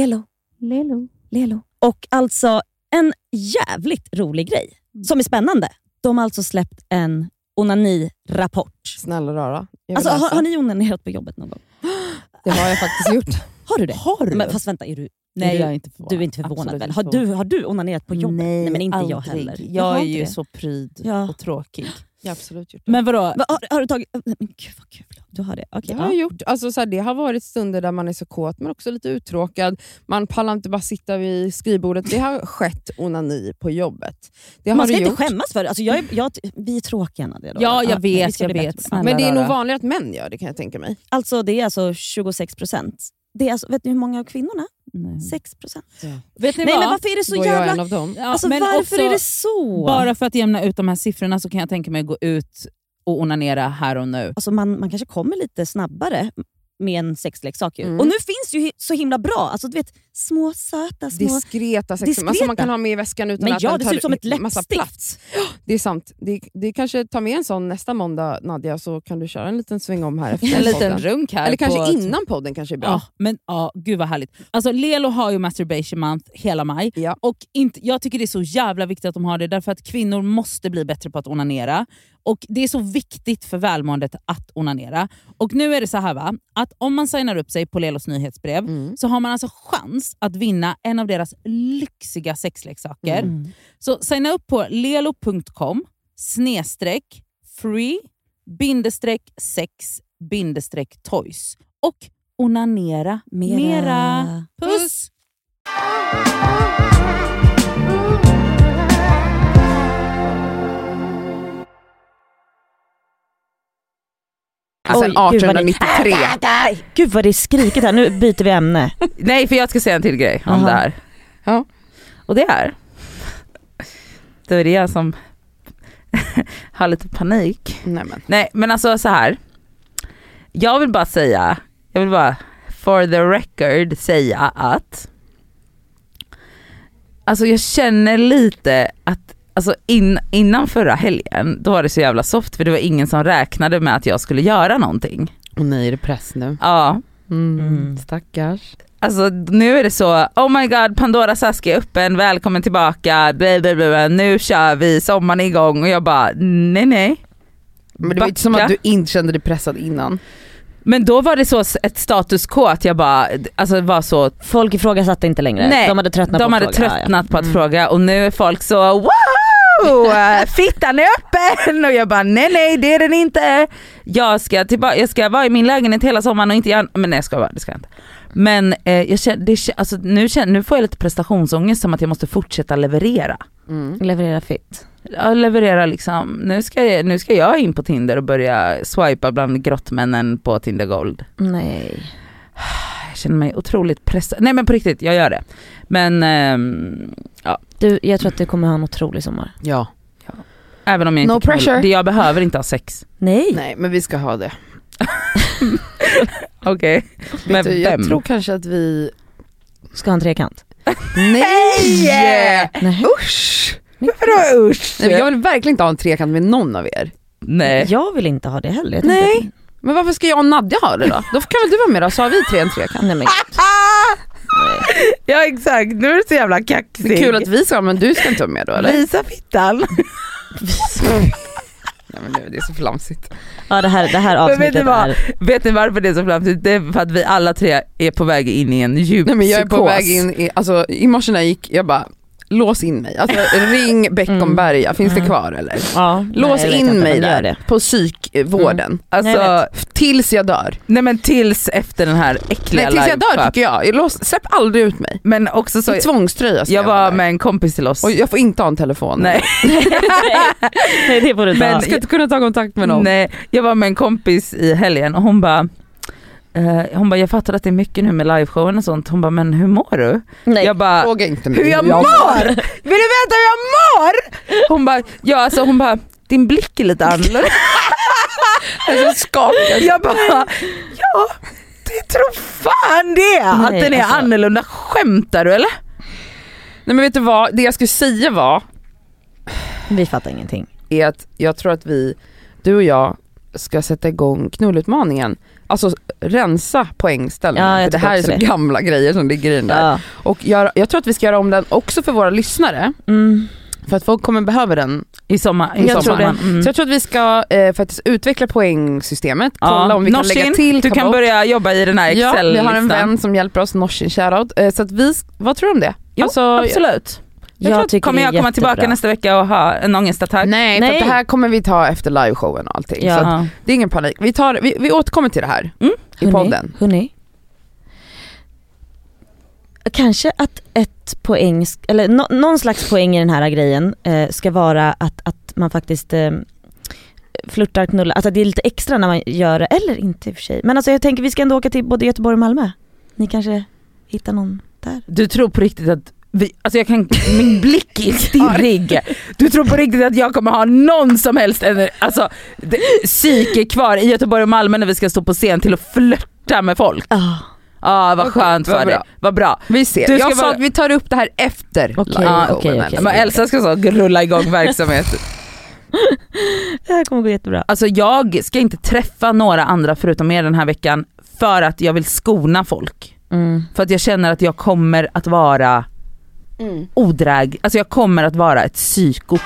Speaker 3: Lelo. Lelo. Lelo. Och alltså en jävligt rolig grej som är spännande. De har alltså släppt en onanirapport.
Speaker 1: Snälla rara, jag vill
Speaker 3: Alltså,
Speaker 1: läsa.
Speaker 3: har, har ni onanerat på jobbet någon gång?
Speaker 1: Det har jag faktiskt gjort.
Speaker 3: Har du det?
Speaker 2: Har du?
Speaker 3: Men, fast vänta, är du,
Speaker 2: Nej,
Speaker 3: är
Speaker 2: jag är
Speaker 3: du,
Speaker 2: inte förvånad.
Speaker 3: du är inte förvånad
Speaker 2: Absolut
Speaker 3: väl?
Speaker 2: inte
Speaker 3: Har du, har du onanerat på jobbet?
Speaker 2: Nej,
Speaker 3: men inte jag
Speaker 2: aldrig.
Speaker 3: heller.
Speaker 2: Jag
Speaker 3: Jaha,
Speaker 2: är
Speaker 3: inte
Speaker 2: ju
Speaker 3: det.
Speaker 2: så pryd
Speaker 3: Ja.
Speaker 2: och tråkig.
Speaker 1: Jag har absolut gjort det.
Speaker 2: Men vadå?
Speaker 3: Va, har, har du tagit... Nej, men gud vad kul. Du har det? Okej.
Speaker 1: Jag har
Speaker 3: ja.
Speaker 1: gjort, alltså så här, det har varit stunder där man är så kåt men också lite uttråkad. Man pallar inte bara sitta vid skrivbordet. Det har skett onani på jobbet. Det har
Speaker 3: Man ska
Speaker 1: det
Speaker 3: inte
Speaker 1: gjort.
Speaker 3: skämmas för det. Alltså, jag är, jag, vi är tråkiga Nadia. då.
Speaker 2: Ja, jag
Speaker 3: men vi
Speaker 2: vet,
Speaker 3: ska
Speaker 2: jag
Speaker 3: bli
Speaker 2: vet.
Speaker 3: bättre på
Speaker 2: Snälla.
Speaker 1: Men det är nog
Speaker 2: rara.
Speaker 1: vanligare att män gör det kan jag tänka mig.
Speaker 3: det. Alltså, det är alltså 26 procent. Det är alltså, vet ni hur många av kvinnorna? 6 procent.
Speaker 2: Vet ni
Speaker 3: Nej
Speaker 2: vad?
Speaker 3: men varför är det så
Speaker 1: Då är jag en
Speaker 3: jävla...
Speaker 1: av dem.
Speaker 2: Ja,
Speaker 3: Alltså,
Speaker 2: men
Speaker 3: varför
Speaker 2: också,
Speaker 3: är det så?
Speaker 2: Bara för att jämna ut de här siffrorna så kan jag tänka mig att gå ut och onanera här och nu.
Speaker 3: Alltså, man, man kanske kommer lite snabbare med en sexleksak. Ju.
Speaker 1: Mm.
Speaker 3: Och nu finns det ju hi- så himla bra. Alltså, du vet, små söta små...
Speaker 1: Diskreta sexsymboler
Speaker 3: Diskreta.
Speaker 1: som man kan ha med i väskan utan
Speaker 3: men
Speaker 1: att
Speaker 3: ja,
Speaker 1: den
Speaker 3: det
Speaker 1: tar
Speaker 3: ser ut som ett
Speaker 1: massa
Speaker 3: läppstift.
Speaker 1: plats. Det är sant. Det, det kanske tar med en sån nästa måndag Nadja så kan du köra en liten sväng om här efter
Speaker 2: En liten
Speaker 1: podden.
Speaker 2: runk här.
Speaker 1: Eller kanske
Speaker 2: på-
Speaker 1: innan podden kanske är bra.
Speaker 2: Ja, men ja, gud vad härligt. Alltså Lelo har ju masturbation month hela maj.
Speaker 1: Ja.
Speaker 2: Och inte, jag tycker det är så jävla viktigt att de har det, därför att kvinnor måste bli bättre på att onanera. Och Det är så viktigt för välmåendet att onanera. Och nu är det så här va, att om man signar upp sig på Lelos nyhetsbrev
Speaker 1: Mm.
Speaker 2: så har man alltså chans att vinna en av deras lyxiga sexleksaker.
Speaker 3: Mm.
Speaker 2: Så signa upp på lelo.com snedstreck free bindestreck sex bindestreck toys och onanera mera. Puss!
Speaker 1: Alltså
Speaker 3: Oj,
Speaker 1: en 1893.
Speaker 3: Gud vad, det, gud vad det är skriket här. Nu byter vi ämne.
Speaker 2: Nej, för jag ska säga en till grej om
Speaker 3: Aha.
Speaker 2: det här.
Speaker 1: Ja.
Speaker 2: Och det är, då är det jag som har lite panik.
Speaker 1: Nej, men.
Speaker 2: Nej men alltså så här. Jag vill bara säga, jag vill bara for the record säga att Alltså jag känner lite att Alltså in, innan förra helgen, då var det så jävla soft för det var ingen som räknade med att jag skulle göra någonting.
Speaker 1: Och ni är det press nu.
Speaker 2: Ja,
Speaker 3: Mm.
Speaker 1: Stackars.
Speaker 2: alltså nu är det så, oh my god Pandoras ask är öppen, välkommen tillbaka, bla, bla, bla, bla, nu kör vi, sommaren är igång och jag bara nej nej.
Speaker 1: Men det var ju inte som
Speaker 2: Backa.
Speaker 1: att du inte kände dig pressad innan.
Speaker 2: Men då var det så ett status quo att jag bara, alltså det var så
Speaker 3: Folk ifrågasatte inte längre.
Speaker 2: Nej,
Speaker 3: de hade tröttnat
Speaker 2: De
Speaker 3: på att
Speaker 2: hade
Speaker 3: fråga. Ja, Mm. ja.
Speaker 2: tröttnat på att fråga och nu är folk så wow! eh, Fittan är öppen! Och jag bara nej nej det är den inte. Jag ska, tillba- jag ska vara i min lägenhet hela sommaren och inte göra, men nej jag ska vara, det ska jag inte. Men eh, jag känner, det, kän- alltså, nu, känner, nu får jag lite prestationsångest som att jag måste fortsätta leverera.
Speaker 3: Leverera fitt.
Speaker 2: Ja, leverera liksom, nu ska, jag, nu ska jag in på Tinder och börja swipa bland grottmännen på Tinder Gold.
Speaker 3: Nej.
Speaker 2: Jag känner mig otroligt pressad, nej men på riktigt jag gör det. Men ehm,
Speaker 3: Du, jag tror att du kommer ha en otrolig sommar.
Speaker 1: Ja.
Speaker 2: Även om jag inte
Speaker 1: No
Speaker 2: knullar.
Speaker 1: pressure.
Speaker 2: Det- Jag behöver inte ha sex.
Speaker 3: Nej.
Speaker 1: Nej men vi ska ha det.
Speaker 2: Okej. Men
Speaker 1: Vet du, jag
Speaker 2: vem?
Speaker 1: tror kanske att vi...
Speaker 3: Ska ha en trekant?
Speaker 1: Nej!
Speaker 3: Nej.
Speaker 1: Usch!
Speaker 2: Vadå usch?
Speaker 1: Nej, men jag vill verkligen inte ha en trekant med någon av er.
Speaker 2: Nej.
Speaker 3: Jag vill inte ha det heller. Jag
Speaker 1: Nej.
Speaker 3: tänkte-
Speaker 1: Men varför ska jag och Nadja ha det då? Då kan väl du vara med då så har vi tre en trekant.
Speaker 3: Nej men
Speaker 1: Ah!
Speaker 2: Ja exakt, nu är du så jävla kaxig.
Speaker 1: Det är kul att vi ska men du ska inte vara med då eller?
Speaker 2: Visa fittan.
Speaker 1: Nej, men det- det är så flamsigt.
Speaker 3: Ja det här, det här
Speaker 2: Men vet ni
Speaker 3: avsnittet
Speaker 2: vad?
Speaker 3: är...
Speaker 2: Vet ni varför det är så flamsigt? Det är för att vi alla tre är på väg in i en djup
Speaker 1: Nej men jag är på
Speaker 2: psykos.
Speaker 1: väg in i, alltså i morse när jag gick, jag bara lås in mig. Alltså, ring Beckomberga, finns det kvar eller?
Speaker 3: Ja,
Speaker 1: Lås
Speaker 3: nej, jag vet
Speaker 1: in
Speaker 3: inte,
Speaker 1: mig
Speaker 3: men gör
Speaker 1: där
Speaker 3: det.
Speaker 1: på psykvården.
Speaker 2: Alltså,
Speaker 3: Nej, jag
Speaker 2: nej,
Speaker 1: F- Tills jag dör.
Speaker 2: men tills efter den här äckliga
Speaker 1: Nej tills jag dör
Speaker 2: live-app.
Speaker 1: tycker jag. jag lås, släpp aldrig ut mig.
Speaker 2: Men också så,
Speaker 1: I tvångströja ska
Speaker 2: jag var
Speaker 1: vara där.
Speaker 2: med en kompis till oss.
Speaker 1: Och jag får inte ha en telefon.
Speaker 2: Nej.
Speaker 3: Nej det får du inte
Speaker 2: Men
Speaker 3: ha.
Speaker 1: Jag ska inte kunna ta kontakt med någon.
Speaker 2: Nej, jag var med en kompis i helgen och hon bara eh, hon bara, jag fattar att det är mycket nu med liveshowen och sånt. Hon bara, men hur mår du?
Speaker 3: Nej.
Speaker 2: Jag bara,
Speaker 1: Fråga inte mig
Speaker 2: hur jag mår! Vill du veta hur jag mår? Hon bara, ja alltså hon bara, din blick är lite annorlunda.
Speaker 1: Jag skakar.
Speaker 2: Jag bara, ja det tror fan det! Att
Speaker 3: Nej,
Speaker 2: den är
Speaker 3: alltså.
Speaker 2: annorlunda, skämtar du eller?
Speaker 1: Nej men vet du vad, det jag skulle säga var
Speaker 3: Vi fattar ingenting.
Speaker 1: är att jag tror att vi, du och jag, ska sätta igång knullutmaningen. Alltså rensa poängställningen.
Speaker 3: Ja,
Speaker 1: för
Speaker 3: jag
Speaker 1: det
Speaker 3: tycker
Speaker 1: här är så
Speaker 3: också det.
Speaker 1: gamla grejer som ligger i den där.
Speaker 3: Ja.
Speaker 1: Och göra, jag tror att vi ska göra om den också för våra lyssnare.
Speaker 3: Mm.
Speaker 1: För att folk kommer behöva den.
Speaker 2: I sommar. I
Speaker 1: Jag tror
Speaker 2: sommar.
Speaker 1: det.
Speaker 3: Mm.
Speaker 1: Så jag tror att vi ska eh, faktiskt utveckla poängsystemet. Kolla om vi kan lägga till,
Speaker 2: du
Speaker 1: ta
Speaker 2: kan
Speaker 1: bort.
Speaker 2: börja jobba i den här
Speaker 1: Ja,
Speaker 2: excel
Speaker 1: vi har en vän som hjälper oss, Norsin shoutout. Eh, så att vi, vad tror du om det?
Speaker 2: Jo,
Speaker 1: Alltså,
Speaker 2: absolut.
Speaker 3: Jag,
Speaker 2: tror att-
Speaker 3: tycker
Speaker 2: kommer
Speaker 3: det är
Speaker 2: jag komma
Speaker 3: jättebra.
Speaker 2: tillbaka nästa vecka och ha en ångestattack?
Speaker 1: Nej, För
Speaker 3: Nej.
Speaker 1: att det här kommer vi ta efter liveshowen och allting.
Speaker 3: Ja. Mm.
Speaker 1: Så att,
Speaker 2: Ja.
Speaker 1: det är ingen panik. Vi, tar, vi, vi återkommer till det här i
Speaker 3: Hörni,
Speaker 1: podden.
Speaker 3: Hörni. Kanske att ett poäng, sk- eller nå- någon slags poäng i den här grejen eh, ska vara att, att man faktiskt eh, flörtar, knullar, alltså det är lite extra när man gör det, eller inte i och för sig. Men alltså jag tänker vi ska ändå åka till både Göteborg och Malmö. Ni kanske hittar någon där?
Speaker 2: Du tror på riktigt att vi, alltså jag kan, min blick är stirrig. Du tror på riktigt att jag kommer ha någon som helst ener- alltså, det- psyke kvar i Göteborg och Malmö när vi ska stå på scen till att flörta med folk.
Speaker 3: Ja,
Speaker 2: Ja vad
Speaker 1: Okej,
Speaker 2: skönt
Speaker 1: vad
Speaker 2: för
Speaker 1: bra.
Speaker 2: dig, vad bra.
Speaker 1: Vi ser.
Speaker 2: Du ska
Speaker 1: jag sa
Speaker 2: vara-
Speaker 1: att vi tar upp det här efter
Speaker 3: Okej,
Speaker 1: liveshowen.
Speaker 3: okej, okej.
Speaker 1: Men-
Speaker 2: Men Elsa ska så rulla igång verksamhet.
Speaker 3: det här kommer gå jättebra.
Speaker 2: Alltså jag ska inte träffa några andra förutom er den här veckan för att jag vill skona folk.
Speaker 3: Mm.
Speaker 2: För att jag känner att jag kommer att vara odräg, alltså jag kommer att vara ett psyko.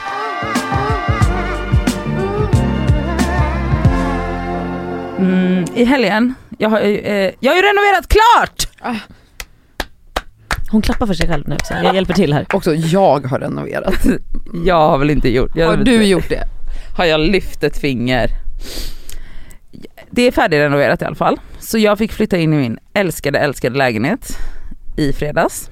Speaker 2: Mm, I helgen, jag har, ju, eh, jag har ju renoverat klart!
Speaker 3: Hon klappar för sig själv nu också, jag hjälper till här.
Speaker 1: Också jag har renoverat.
Speaker 2: Jag har väl inte gjort, jag
Speaker 1: Har du gjort det?
Speaker 2: har jag lyft ett finger. Det är färdigrenoverat i alla fall. Så jag fick flytta in i min älskade, älskade lägenhet i fredags.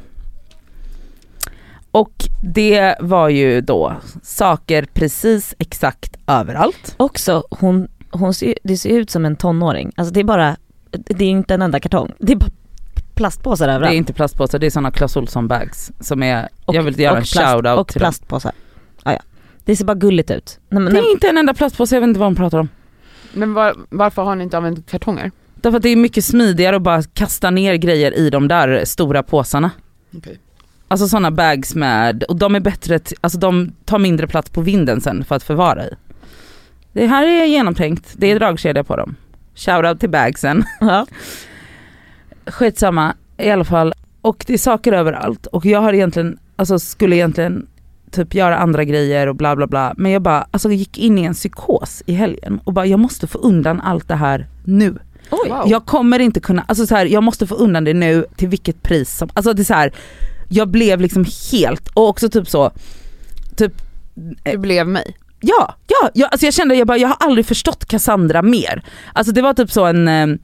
Speaker 2: Och det var ju då saker precis exakt överallt.
Speaker 3: Också, hon, hon ser, det ser ut som en tonåring. Alltså det är bara, det är inte en enda kartong. Det är bara plastpåsar
Speaker 2: Det är
Speaker 3: överallt.
Speaker 2: inte plastpåsar, det är sådana Clas Ohlson bags som är, jag vill göra en
Speaker 3: plast-
Speaker 2: shoutout
Speaker 3: Och
Speaker 2: till dem.
Speaker 3: plastpåsar. Ah, ja. Det ser bara gulligt ut. Nej, men,
Speaker 2: Det
Speaker 3: nej,
Speaker 2: är inte en enda plastpåse, jag vet inte vad hon pratar om.
Speaker 1: Men var, varför har ni inte använt kartonger?
Speaker 2: Därför att det är mycket smidigare att bara kasta ner grejer i de där stora påsarna.
Speaker 1: Okej.
Speaker 2: Alltså sådana bags med, och de är bättre, t- alltså de tar mindre plats på vinden sen för att förvara i. Det här är genomtänkt, det är dragkedja på dem. Shoutout till bagsen.
Speaker 3: ja.
Speaker 2: Skitsamma, i alla fall. Och det är saker överallt och jag har egentligen, alltså skulle egentligen typ göra andra grejer och bla bla bla. Men jag bara, alltså gick in i en psykos i helgen och bara jag måste få undan allt det här nu.
Speaker 1: Oj. Wow.
Speaker 2: Jag kommer inte kunna, alltså så här, jag måste få undan det nu till vilket pris som, alltså det är så här, jag blev liksom helt, och också typ så, typ
Speaker 1: Du blev mig.
Speaker 2: Ja, ja, ja alltså jag kände jag bara, jag har aldrig förstått Cassandra mer. Alltså det var typ så en, eh,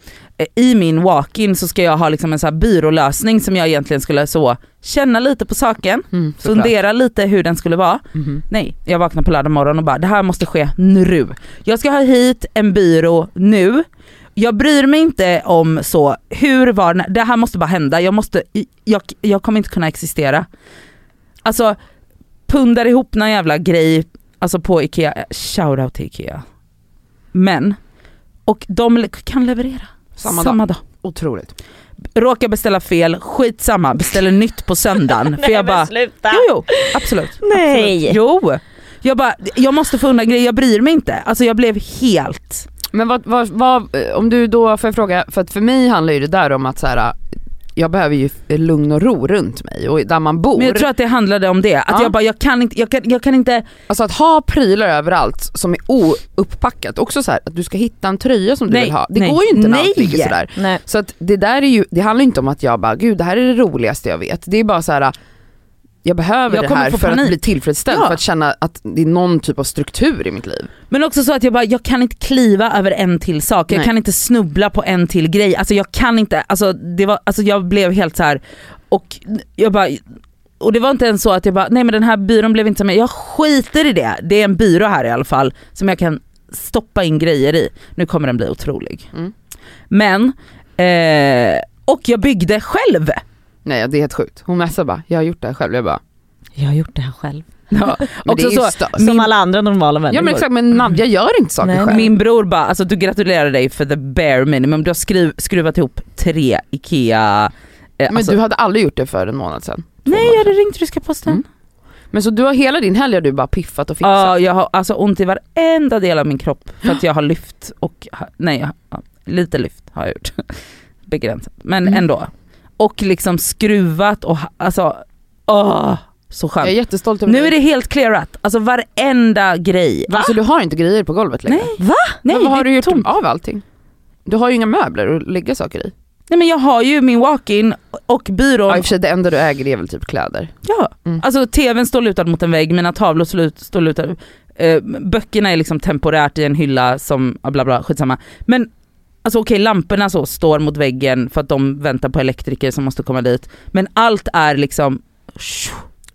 Speaker 2: i min walk-in så ska jag ha liksom en så här byrålösning som jag egentligen skulle så känna lite på saken,
Speaker 1: Mm, såklart.
Speaker 2: fundera lite hur den skulle vara.
Speaker 1: Mhm.
Speaker 2: Nej, jag vaknade på lördag morgon och bara det här måste ske nu. Jag ska ha hit en byrå nu. Jag bryr mig inte om så, hur var när- det här måste bara hända. Jag, måste, jag, jag kommer inte kunna existera. Alltså pundar ihop någon jävla grej alltså på Ikea, shoutout till Ikea. Men, och de le- kan leverera
Speaker 1: Samma dag.
Speaker 2: dag.
Speaker 1: Otroligt.
Speaker 2: Råkar beställa fel, skitsamma, beställer nytt på söndagen. för jag bara,
Speaker 3: sluta.
Speaker 2: jo jo, absolut.
Speaker 3: Nej.
Speaker 2: Absolut. Jo! Jag bara, jag måste få undan grejer, jag bryr mig inte. Alltså jag blev helt...
Speaker 1: Men vad, vad, vad, eh, om du då, får jag fråga, för att för mig handlar ju det där om att så här, eh, jag behöver ju lugn och ro runt mig och där man bor.
Speaker 2: Men jag tror att det handlade om det. Att
Speaker 1: Ja.
Speaker 2: jag bara, jag kan inte, jag kan, jag kan inte...
Speaker 1: Alltså att ha prylar överallt som är ouppackat, också så här, att du ska hitta en tröja som du
Speaker 2: Nej,
Speaker 1: vill ha. Det
Speaker 2: nej,
Speaker 1: går ju inte när
Speaker 2: nej.
Speaker 1: allt ligger sådär.
Speaker 3: Nej.
Speaker 1: Så att det där är ju, det handlar ju inte om att jag bara, gud det här är det roligaste jag vet. Det är bara så här. jag behöver
Speaker 2: Jag
Speaker 1: det
Speaker 2: kommer
Speaker 1: här
Speaker 2: få
Speaker 1: för att
Speaker 2: panik.
Speaker 1: bli tillfredsställd,
Speaker 2: Ja.
Speaker 1: för att känna att det är någon typ av struktur i mitt liv.
Speaker 2: Men också så att jag bara, jag kan inte kliva över en till sak, jag
Speaker 1: Nej.
Speaker 2: kan inte snubbla på en till grej. Alltså jag kan inte, alltså, det var, alltså jag blev helt så här och jag bara och det var inte ens så att jag bara, nej men den här byrån blev inte som jag, jag skiter i det. Det är en byrå här i alla fall som jag kan stoppa in grejer i. Nu kommer den bli otrolig.
Speaker 1: Mm.
Speaker 2: Men, eh, och jag byggde själv.
Speaker 1: Nej det är helt sjukt. Hon messar bara, jag har gjort det här själv. Jag bara,
Speaker 3: Jag har gjort det här själv.
Speaker 2: Ja,
Speaker 1: men det
Speaker 2: också
Speaker 1: är ju
Speaker 2: så,
Speaker 1: stört.
Speaker 3: Som alla andra normala människor.
Speaker 1: Ja men exakt, men Nadja gör inte saker
Speaker 3: Nej,
Speaker 1: själv.
Speaker 2: Mm. Min bror bara, alltså du gratulerar dig för the bare minimum, du har skruv, skruvat ihop tre IKEA... Eh,
Speaker 1: men
Speaker 2: alltså,
Speaker 1: du hade aldrig gjort det för en månad sedan.
Speaker 2: nej jag hade ringt ryska posten.
Speaker 1: Mm. Men så du har hela din helg har du bara piffat och fixat.
Speaker 2: Ja, jag har alltså ont i varenda del av min kropp för att jag har lyft och, ha- nej jag har- ja, lite lyft har jag gjort. Begränsat, men
Speaker 1: Mm.
Speaker 2: ändå. Och liksom skruvat och ha- alltså, åh så
Speaker 1: jag är
Speaker 2: skönt.
Speaker 1: jättestolt över
Speaker 2: Nu är
Speaker 1: dig.
Speaker 2: det helt clearat, alltså varenda grej. Alltså,
Speaker 1: Alltså du har inte grejer på golvet längre.
Speaker 2: Nej.
Speaker 3: Va?
Speaker 1: Nej,
Speaker 2: Nej,
Speaker 1: vad har
Speaker 2: det
Speaker 1: du
Speaker 2: är
Speaker 1: gjort
Speaker 2: tomt.
Speaker 1: av allting? Du har ju inga möbler att lägga saker i.
Speaker 2: Nej men jag har ju min walk-in och byrån
Speaker 1: Ja, i och för sig det enda du äger är väl typ kläder.
Speaker 2: Ja,
Speaker 1: Mm.
Speaker 2: alltså tvn står lutad mot en vägg, mina tavlor står lut- står lutade, eh, böckerna är liksom temporärt i en hylla som, ah, bla bla, skitsamma. Men alltså okej, lamporna så står mot väggen för att de väntar på elektriker som måste komma dit. Men allt är liksom,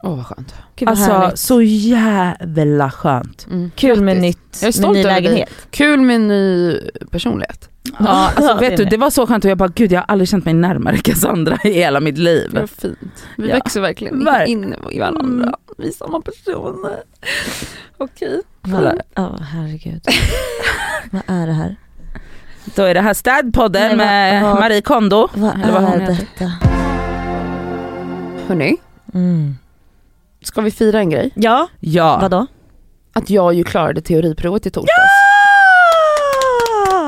Speaker 1: Åh vad skönt.
Speaker 3: Gud, vad
Speaker 2: alltså
Speaker 3: härligt.
Speaker 2: så jävla skönt.
Speaker 1: Mm.
Speaker 3: Kul med,
Speaker 1: Grattis.
Speaker 3: nytt,
Speaker 1: Jag är stolt
Speaker 3: med ny
Speaker 1: över dig.
Speaker 3: lägenhet.
Speaker 1: Kul med ny personlighet.
Speaker 2: Ja, alltså,
Speaker 3: Ja, det är
Speaker 2: vet du,
Speaker 3: det.
Speaker 2: det var så skönt och jag bara gud jag har aldrig känt mig närmare Cassandra i hela mitt liv.
Speaker 1: Vad fint. Vi
Speaker 2: Ja.
Speaker 1: växer verkligen
Speaker 2: Verk-
Speaker 1: in i varandra.
Speaker 2: Mm.
Speaker 1: Vi är samma personer. Okej.
Speaker 3: Ja, ja, herregud. vad är det här?
Speaker 2: Då är det här
Speaker 3: Nej,
Speaker 2: städpodden
Speaker 3: vad-
Speaker 2: med
Speaker 3: vad-
Speaker 2: Marie Kondo.
Speaker 3: Vad
Speaker 2: Eller vad hon
Speaker 3: är
Speaker 2: heter.
Speaker 3: detta?
Speaker 1: Hörni,
Speaker 3: Mm.
Speaker 1: ska vi fira en grej?
Speaker 3: Ja,
Speaker 2: Ja.
Speaker 3: vadå?
Speaker 1: Att jag ju klarade teoriprovet i torsdags.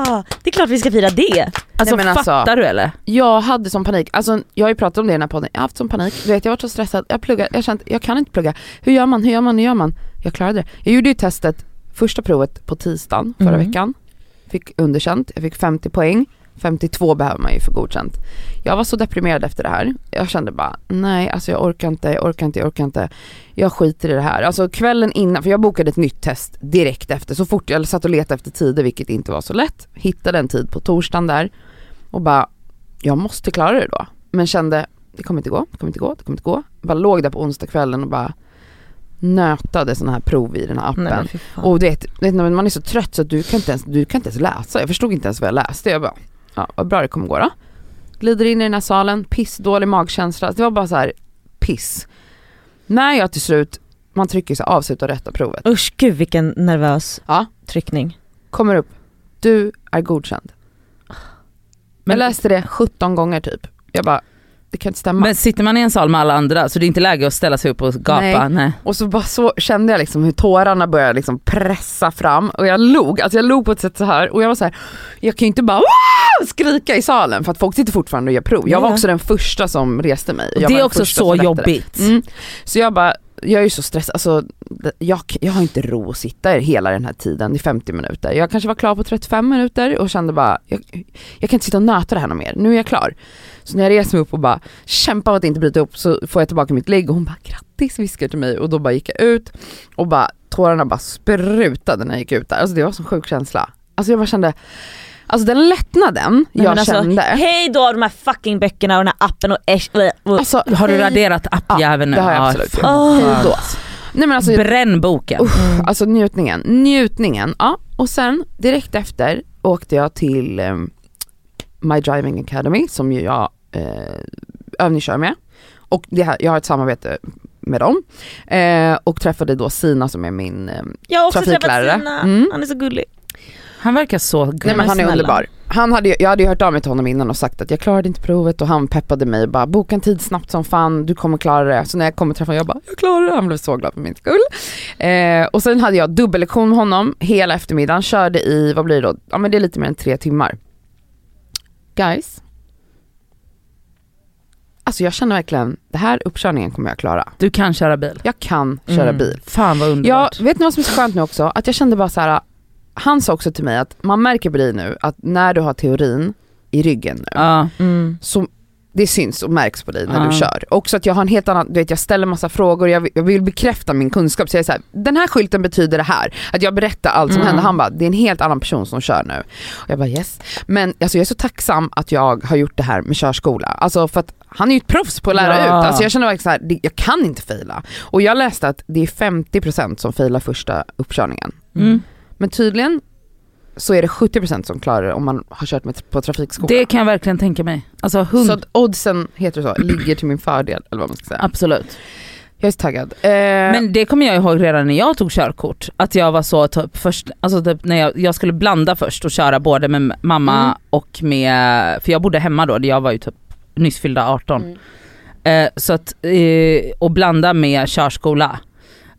Speaker 3: Ah, det är klart vi ska fira det.
Speaker 2: Alltså
Speaker 1: Nej, men alltså-
Speaker 2: fattar du eller?
Speaker 1: Jag hade sån panik, alltså jag har ju pratat om det i den här podden, jag har haft sån panik, du vet jag har varit så stressad, jag pluggar, jag har känt, jag kan inte plugga. Hur gör man, hur gör man, hur gör man? Jag klarade det. Jag gjorde ju testet, första provet på tisdagen förra
Speaker 3: Mm.
Speaker 1: veckan, fick underkänt, jag fick 50 poäng, 52 behöver man ju för godkänt. Jag var så deprimerad efter det här, jag kände bara nej alltså jag orkar inte, jag orkar inte, jag orkar inte. Jag skiter i det här. Alltså kvällen innan, för jag bokade ett nytt test direkt efter, så fort jag satt och letade efter tider vilket inte var så lätt, hittade en tid på torsdagen där och bara jag måste klara det då. Men kände, det kommer inte gå, det kommer inte gå, det kommer inte gå. Bara låg där på onsdagskvällen och bara nötade sådana här prov i den här appen.
Speaker 3: Nej, men fy fan.
Speaker 1: och du vet, vet, när man är så trött så att du kan, inte ens, du kan inte ens läsa. Jag förstod inte ens vad jag läste. Jag bara, ja vad bra det kommer gå då. Glider in i den här salen, pissdålig magkänsla. Det var bara så här piss. När jag till slut, man trycker så här, avsluta och rätta provet.
Speaker 3: Usch gud vilken nervös
Speaker 1: Ja.
Speaker 3: tryckning.
Speaker 1: Kommer upp, du är godkänd.
Speaker 2: Men-
Speaker 1: jag läste det 17 gånger typ. Jag bara, det kan inte stämma.
Speaker 2: Men sitter man i en sal med alla andra så det är inte läge att ställa sig upp och gapa.
Speaker 1: Nej.
Speaker 2: Nej.
Speaker 1: Och så bara så kände jag liksom hur tårarna började liksom pressa fram och jag log, alltså jag log på ett sätt så här och jag var så här, jag kan ju inte bara "Wow!" skrika i salen för att folk sitter fortfarande och gör prov. Jag var
Speaker 3: Ja.
Speaker 1: också den första som reste mig. Jag
Speaker 2: Det
Speaker 1: var
Speaker 2: är
Speaker 1: den
Speaker 2: också
Speaker 1: första
Speaker 2: så
Speaker 1: som rättade.
Speaker 2: jobbigt.
Speaker 1: Mm. Så jag bara, jag är ju så stressad, alltså, det- jag, jag har inte ro att sitta i hela den här tiden i 50 minuter. Jag kanske var klar på 35 minuter och kände bara, jag, jag kan inte sitta och nöta det här något mer, nu är jag klar. Så när jag reser mig upp och bara kämpar för att inte bryta upp så får jag tillbaka mitt ligg och hon bara grattis viskar till mig och då bara gick jag ut och bara tårarna bara sprutade när jag gick ut där. Alltså det var en sån sjuk känsla. Alltså jag bara kände, alltså den lättnaden
Speaker 3: Nej,
Speaker 1: jag
Speaker 3: men alltså,
Speaker 1: kände.
Speaker 3: Hej då de här fucking böckerna och den här appen och äsch, bleh, bleh.
Speaker 1: Alltså,
Speaker 2: Har du raderat appjäveln nu?
Speaker 1: det har jag
Speaker 2: Ja,
Speaker 1: absolut
Speaker 2: fan.
Speaker 3: Åh.
Speaker 1: hej då. Nej men alltså
Speaker 2: Bränn boken.
Speaker 3: Mm.
Speaker 1: Alltså njutningen, njutningen. Ja. Och sen direkt efter åkte jag till eh, My Driving Academy som ju jag eh, övningskör med. Och det här, jag har ett samarbete med dem. Eh, och träffade då Sina som är min eh,
Speaker 3: Jag har också
Speaker 1: trafiklärare.
Speaker 3: träffat Sina,
Speaker 1: Mm.
Speaker 3: han är så gullig.
Speaker 2: Han verkar så gullig.
Speaker 1: Nej men han är
Speaker 3: snälla.
Speaker 1: underbar. Han hade, ju- jag hade ju hört av mig till honom innan och sagt att jag klarade inte provet och han peppade mig och bara boka en tid snabbt som fan, du kommer klara det. Så när jag kom och träffade honom, jag bara jag klarar det, han blev så glad för min skull. Eh, och sen hade jag dubbellektion med honom hela eftermiddagen, körde i, vad blir det då, ja men det är lite mer än tre timmar. Guys. Alltså jag känner verkligen, det här uppkörningen kommer jag klara.
Speaker 2: Du kan köra bil.
Speaker 1: Jag kan köra
Speaker 3: Mm.
Speaker 1: bil.
Speaker 2: Fan vad
Speaker 1: Ja,
Speaker 2: underbart.
Speaker 1: vet ni vad som är så skönt nu också? Att jag kände bara så här. han sa också till mig att man märker på dig nu att när du har teorin i ryggen nu
Speaker 2: Ja.
Speaker 3: Mm.
Speaker 1: så det syns och märks på dig när
Speaker 2: Ja.
Speaker 1: du kör. Också att jag har en helt annan, du vet jag ställer massa frågor, jag vill, jag vill bekräfta min kunskap. Så jag är såhär, den här skylten betyder det här. Att jag berättar allt som
Speaker 2: Mm.
Speaker 1: händer. Han bara, det är en helt annan person som kör nu. Och jag bara yes. Men alltså, jag är så tacksam att jag har gjort det här med körskola. Alltså för att han är ju ett proffs på att lära
Speaker 2: Ja.
Speaker 1: ut. Alltså jag känner verkligen såhär, det- jag kan inte fejla. Och jag läste att det är 50% som failar första uppkörningen.
Speaker 2: Mm.
Speaker 1: Men tydligen så är det 70% som klarar det om man har kört med, på trafikskola.
Speaker 2: Det kan jag verkligen tänka mig. Alltså hund,
Speaker 1: Så att oddsen, heter det så, ligger till min fördel eller vad man ska säga.
Speaker 2: absolut.
Speaker 1: Jag är så taggad. Eh,
Speaker 2: Men det kommer jag ihåg redan när jag tog körkort. Att jag var så typ först, alltså typ när jag, jag skulle blanda först och köra både med mamma
Speaker 1: Mm.
Speaker 2: och med, för jag bodde hemma då, jag var ju typ nyss fyllda 18.
Speaker 1: Mm.
Speaker 2: Eh, så att, eh, och blanda med körskola.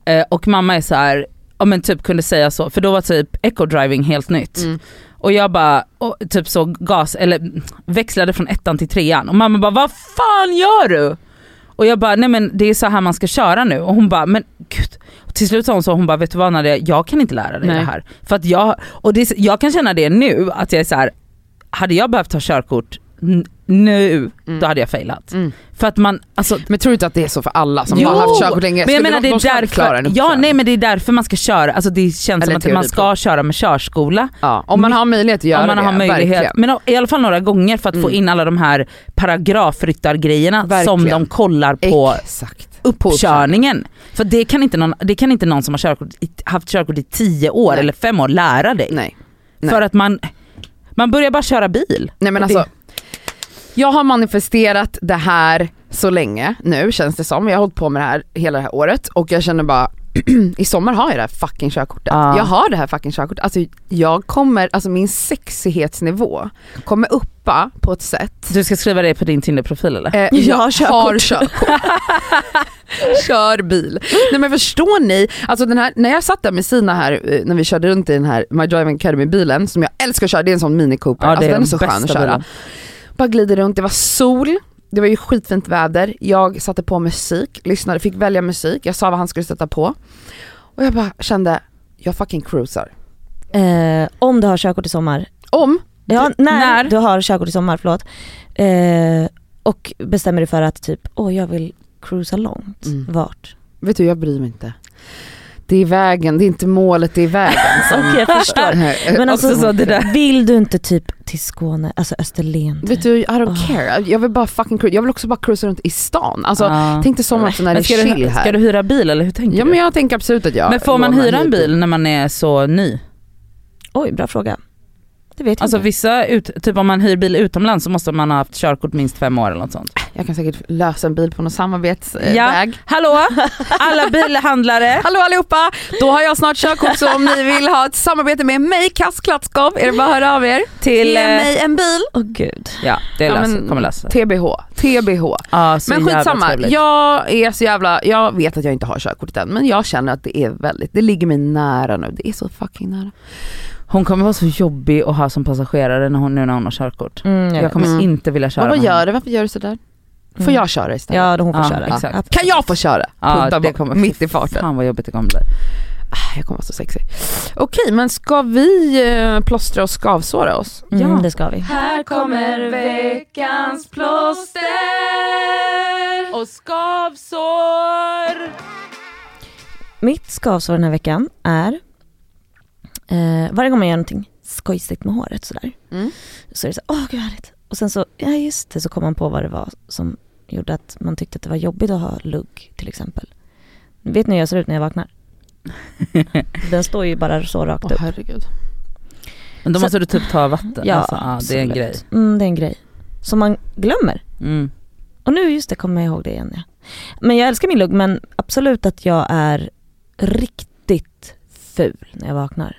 Speaker 2: Eh, och mamma är så här, ja men typ kunde säga så, för då var typ eco-driving helt nytt.
Speaker 1: Mm.
Speaker 2: Och jag bara, och, typ så gas, eller mm, växlade från ettan till trean. Och mamma bara, vad fan gör du? Och jag bara, nej men det är så här man ska köra nu. Och hon bara, men gud. Och till slut sa hon så, hon bara, vet du vad Nadia, jag kan inte lära dig
Speaker 1: Nej.
Speaker 2: det här. För att jag, och det, är så- jag kan känna det nu, att jag är så här, hade jag behövt ta körkort n- nu,
Speaker 1: Mm.
Speaker 2: då hade jag failat.
Speaker 1: Mm.
Speaker 2: För att man, alltså
Speaker 1: men tror du inte att det är så för alla som
Speaker 2: Jo,
Speaker 1: har haft körkort länge?
Speaker 2: men jag
Speaker 1: Skulle
Speaker 2: menar
Speaker 1: de-
Speaker 2: det
Speaker 1: de ska
Speaker 2: är
Speaker 1: inte klara
Speaker 2: därför,
Speaker 1: en
Speaker 2: ja,
Speaker 1: uppkörning.
Speaker 2: nej, men det är därför man ska köra, alltså det känns
Speaker 1: Eller
Speaker 2: som att man ska köra med körskola
Speaker 1: Ja, om man har möjlighet att göra
Speaker 2: om man
Speaker 1: det,
Speaker 2: har möjlighet.
Speaker 1: verkligen.
Speaker 2: Men o- i alla fall några gånger för att få
Speaker 1: Mm.
Speaker 2: in alla de här paragrafryttargrejerna som
Speaker 1: Verkligen.
Speaker 2: de kollar på
Speaker 1: Exakt.
Speaker 2: uppkörningen. För det kan inte någon, det kan inte någon som har körkort, i- haft körkort i tio år
Speaker 1: Nej.
Speaker 2: eller fem år lära dig.
Speaker 1: Nej. nej.
Speaker 2: För att man, man börjar bara köra bil.
Speaker 1: nej men
Speaker 2: Och det-
Speaker 1: alltså, jag har manifesterat det här så länge nu känns det som. Jag har hållit på med det här hela det här året och jag känner bara i sommar har jag det här fucking körkortet.
Speaker 2: Ja.
Speaker 1: Jag har det här fucking körkortet. Alltså jag kommer, alltså min sexighetsnivå kommer uppa på ett sätt
Speaker 2: Du ska skriva det på din Tinder-profil eller?
Speaker 1: Eh, jag,
Speaker 3: Jag har
Speaker 1: har
Speaker 3: körkort.
Speaker 1: körkort. Kör bil. Nej men förstår ni, alltså den här, när jag satt där med Sina här eh, när vi körde runt i den här My Driving Academy bilen som jag älskar att köra, det är en sån Mini Cooper, alltså, den är så skön att köra.
Speaker 2: bilen.
Speaker 1: Bara glider runt, det var sol, det var ju skitfint väder, jag satte på musik, lyssnade, fick välja musik, jag sa vad han skulle sätta på. Och jag bara kände, jag fucking cruisar.
Speaker 3: Eh, om du har körkort i sommar,
Speaker 1: Om,
Speaker 3: ja, när,
Speaker 2: när?
Speaker 3: du har körkort i sommar, förlåt. Eh, och bestämmer dig för att typ, åh jag vill cruisa långt.
Speaker 1: Mm.
Speaker 3: Vart?
Speaker 1: vet du jag bryr mig inte. Det är vägen, det är inte målet, det är vägen.
Speaker 3: Alltså, Okej jag förstår. Men alltså,
Speaker 2: Också så det där.
Speaker 3: Vill du inte typ till Skåne, alltså Österlen? typ?
Speaker 1: Vet du, I don't
Speaker 3: Ah.
Speaker 1: care. Jag vill bara fucking cruisa. Jag vill också bara cruisa runt i stan. Alltså,
Speaker 2: Ja.
Speaker 1: Tänk dig sommaren också när det
Speaker 2: Ah. Men
Speaker 1: är
Speaker 2: ska,
Speaker 1: chill
Speaker 2: du, ska
Speaker 1: här.
Speaker 2: du hyra bil eller hur tänker
Speaker 1: Ja
Speaker 2: du?
Speaker 1: men jag tänker absolut att jag
Speaker 2: men får man
Speaker 1: lånar
Speaker 2: hyra en
Speaker 1: hyrbil.
Speaker 2: bil när man är så ny?
Speaker 3: Oj, bra fråga. Det vet jag
Speaker 2: Alltså
Speaker 1: Mm.
Speaker 3: inte.
Speaker 2: vissa, ut, typ om man hyr bil utomlands så måste man ha haft körkort minst fem år eller något sånt.
Speaker 1: Jag kan säkert lösa en bil på någon samarbetsväg.
Speaker 2: Ja.
Speaker 1: Ja.
Speaker 2: Hallå! Alla bilhandlare!
Speaker 1: Hallå allihopa! Då har jag snart körkort så om ni vill ha ett samarbete med mig, Kass Klatskov, är det bara att höra av er.
Speaker 2: Till...
Speaker 1: Ge
Speaker 2: eh,
Speaker 1: mig en bil.
Speaker 3: Åh gud.
Speaker 2: Ja, det
Speaker 1: Ja,
Speaker 2: löser,
Speaker 1: men-
Speaker 2: kommer lösa sig.
Speaker 1: TBH, TBH.
Speaker 2: Ja, så
Speaker 1: Men
Speaker 2: jävla
Speaker 1: skitsamma,
Speaker 2: trevligt.
Speaker 1: jag är så jävla, jag vet att jag inte har körkortet än men jag känner att det är väldigt, det ligger mig nära nu. Det är så fucking nära.
Speaker 2: Hon kommer vara så jobbig att ha som passagerare när hon, nu när hon har körkort.
Speaker 3: Mm, jag
Speaker 2: Jag
Speaker 3: vet.
Speaker 2: kommer
Speaker 1: Mm.
Speaker 2: inte vilja köra
Speaker 1: Men vad
Speaker 2: med
Speaker 1: gör
Speaker 2: henne.
Speaker 1: du? Varför gör du sådär? Får
Speaker 3: Mm.
Speaker 1: jag köra istället?
Speaker 3: Ja, hon får
Speaker 2: Ja,
Speaker 3: köra.
Speaker 2: exakt.
Speaker 3: Absolut.
Speaker 1: Kan jag få köra?
Speaker 2: Ja,
Speaker 1: Punta
Speaker 2: det
Speaker 1: bort,
Speaker 2: kommer-
Speaker 1: mitt i farten.
Speaker 2: Fan vad jobbigt det kommer bli.
Speaker 1: Ah, Jag kommer vara så sexig. Okej, men ska vi eh, plåstra och skavsåra oss?
Speaker 3: Mm,
Speaker 2: Ja.
Speaker 3: det ska vi.
Speaker 2: Här kommer veckans plåster och skavsår.
Speaker 3: Mitt skavsår den här veckan är eh, varje gång man gör någonting skojsigt med håret sådär
Speaker 1: Mm.
Speaker 3: så är det så åh gud vad härligt. Och sen så, ja just det, så kom man på vad det var som gjorde att man tyckte att det var jobbigt att ha lugg till exempel. Vet ni hur jag ser ut när jag vaknar? Den står ju bara så rakt
Speaker 1: Åh
Speaker 3: upp.
Speaker 1: herregud.
Speaker 2: Men då
Speaker 3: Så-
Speaker 2: måste du typ ta vatten.
Speaker 3: Ja,
Speaker 2: Ja, alltså, ja, det är en
Speaker 3: absolut.
Speaker 2: grej.
Speaker 3: Mm, det är en grej. Som man glömmer.
Speaker 2: Mm.
Speaker 3: Och nu just det kommer jag ihåg det igen. Ja. Men jag älskar min lugg men absolut att jag är riktigt ful när jag vaknar.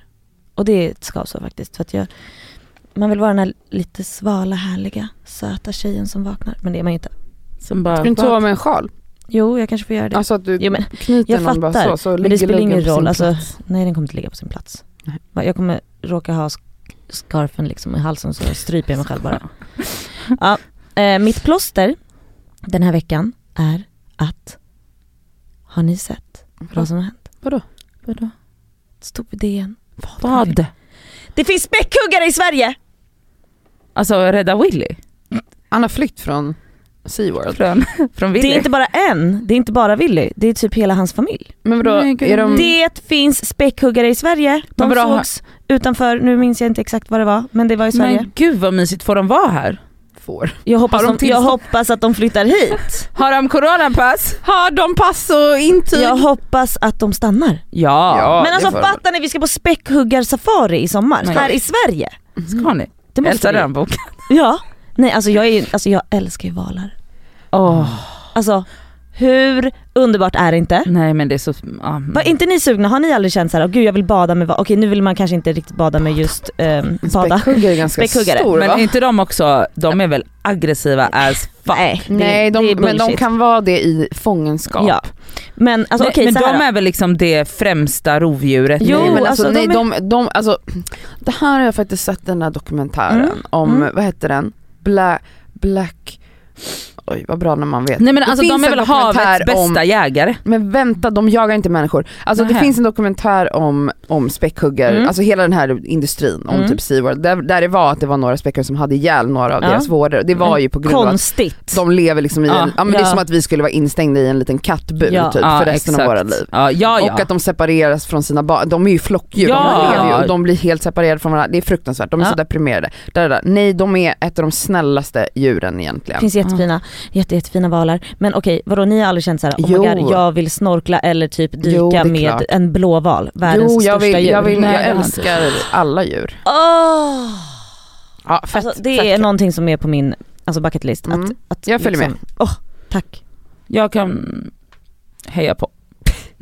Speaker 3: Och det är ett skavsår faktiskt. För att jag, man vill vara den här lite svala, härliga, söta tjejen som vaknar. Men det är man ju inte.
Speaker 2: Sen bara,
Speaker 1: Ska du inte sova med en sjal?
Speaker 3: Jo, jag kanske får göra det.
Speaker 1: Alltså att du
Speaker 3: Jo, men,
Speaker 1: knyter
Speaker 3: jag
Speaker 1: någon bara
Speaker 3: fattar,
Speaker 1: så, så
Speaker 3: men
Speaker 1: ligger
Speaker 3: det spelar
Speaker 1: luggen
Speaker 3: ingen
Speaker 1: på sin
Speaker 3: roll. Alltså,
Speaker 1: plats.
Speaker 3: nej, den kommer inte ligga på sin plats.
Speaker 1: Nej.
Speaker 3: Va, Jag kommer råka ha sk- scarfen liksom i halsen så stryper jag mig själv bara. Ja, eh, mitt plåster den här veckan är att, har ni sett
Speaker 1: Mm-hmm.
Speaker 3: vad som har hänt?
Speaker 2: Vadå?
Speaker 3: Det Stod på DN.
Speaker 2: Vad?
Speaker 3: Det finns späckhuggare i Sverige!
Speaker 2: Alltså rädda Willy?
Speaker 1: Han har flytt från... Sea World.
Speaker 2: från, från Willy.
Speaker 3: Det är inte bara en, det är inte bara Willy, det är typ hela hans familj.
Speaker 1: Men vadå,
Speaker 2: Nej, gud,
Speaker 1: är de...
Speaker 3: Det finns späckhuggare i Sverige,
Speaker 1: Vad
Speaker 3: de
Speaker 1: bra.
Speaker 3: sågs utanför, nu minns jag inte exakt vad det var, men det var i Sverige.
Speaker 2: Men gud vad mysigt, får de vara här?
Speaker 1: Får.
Speaker 3: jag, hoppas
Speaker 1: har de
Speaker 3: de, jag
Speaker 1: tillstånd?
Speaker 3: hoppas att de flyttar hit.
Speaker 2: Har de coronapass?
Speaker 1: Har de pass och intyg?
Speaker 3: Jag hoppas att de stannar.
Speaker 2: Ja.
Speaker 1: Ja, det
Speaker 3: men alltså
Speaker 1: får de.
Speaker 3: fattar ni, vi ska på späckhuggarsafari i sommar,
Speaker 2: Nej.
Speaker 3: här i Sverige.
Speaker 2: Ska ni?
Speaker 3: Det
Speaker 2: Elsa
Speaker 3: måste vi.
Speaker 2: Rönnbok.
Speaker 3: Ja. Nej alltså jag, är ju, alltså jag älskar ju valar.
Speaker 2: Åh,
Speaker 3: Alltså hur underbart är
Speaker 1: Mm.
Speaker 3: det inte?
Speaker 2: Nej men det är så... Ja, mm.
Speaker 3: Var inte ni sugna? Har ni aldrig känt såhär, oh, gud jag vill bada med val? Okej nu vill man kanske inte riktigt bada med just ehm, bada.
Speaker 1: Späckhuggare är ganska
Speaker 3: Späckhuggare.
Speaker 1: stor
Speaker 2: men
Speaker 1: va?
Speaker 2: är inte de också, de är väl aggressiva as fuck?
Speaker 3: Nej, det,
Speaker 1: Nej,
Speaker 3: det
Speaker 1: de,
Speaker 3: är
Speaker 1: men de
Speaker 3: bullshit.
Speaker 1: kan vara det i fångenskap.
Speaker 3: Ja. Men alltså
Speaker 2: Nej,
Speaker 3: okej
Speaker 2: men
Speaker 3: så här
Speaker 2: de
Speaker 3: då.
Speaker 2: är väl liksom det främsta rovdjuret?
Speaker 3: Jo,
Speaker 1: nej, men alltså,
Speaker 3: alltså,
Speaker 1: nej,
Speaker 3: de
Speaker 1: de, de, alltså, det här har jag faktiskt sett den här dokumentären
Speaker 3: Mm,
Speaker 1: om,
Speaker 3: mm.
Speaker 1: vad heter den? Black, Black, oj vad bra när man vet.
Speaker 2: Nej men
Speaker 1: Det
Speaker 2: alltså
Speaker 1: finns
Speaker 2: de är
Speaker 1: en
Speaker 2: väl havets
Speaker 1: dokumentär
Speaker 2: bästa
Speaker 1: om-
Speaker 2: jägare?
Speaker 1: Men vänta, de jagar inte människor. Alltså det
Speaker 2: Nähä.
Speaker 1: finns en dokumentär om, om späckhuggare,
Speaker 3: Mm.
Speaker 1: alltså hela den här industrin om
Speaker 3: Mm.
Speaker 1: typ SeaWorld, där, där det var att det var några späckhuggare som hade ihjäl några av
Speaker 3: Ja.
Speaker 1: deras vårdare. Det var
Speaker 3: Men
Speaker 1: ju på grund av att
Speaker 3: Konstigt.
Speaker 1: de lever liksom i
Speaker 2: Ja,
Speaker 1: en, ja men det är
Speaker 3: ja.
Speaker 1: som att vi skulle vara instängda i en liten kattbur
Speaker 3: Ja,
Speaker 1: typ
Speaker 2: Ja,
Speaker 1: för resten av
Speaker 2: exakt.
Speaker 1: våra liv.
Speaker 2: Ja,
Speaker 3: Ah,
Speaker 2: ja, ja.
Speaker 1: Och att de separeras från sina barn, de är ju flockdjur,
Speaker 2: Ja.
Speaker 1: de lever ju och de blir helt separerade från varandra, det är fruktansvärt, de är
Speaker 3: Ja.
Speaker 1: så deprimerade. Där, där. Nej de är ett av de snällaste djuren egentligen.
Speaker 3: Det finns jättefina, jätte, jättefina valar. Men okej, vadå ni har aldrig känt såhär, oh my
Speaker 1: Jo.
Speaker 3: god jag vill snorkla eller typ dyka
Speaker 1: Jo, det är
Speaker 3: med
Speaker 1: klart.
Speaker 3: en blåval, världens
Speaker 1: jo jag
Speaker 3: största
Speaker 1: vill,
Speaker 3: djur.
Speaker 1: jag, vill,
Speaker 2: Nej, det
Speaker 1: jag
Speaker 2: har jag
Speaker 1: älskar alla djur.
Speaker 3: Åh!
Speaker 1: Ja, fett,
Speaker 3: alltså, det
Speaker 1: fett
Speaker 3: är
Speaker 1: kul.
Speaker 3: någonting som är på min alltså, bucket list. Att,
Speaker 1: Mm.
Speaker 3: att,
Speaker 1: Jag följer
Speaker 3: med. Åh, tack.
Speaker 2: Jag kan heja på.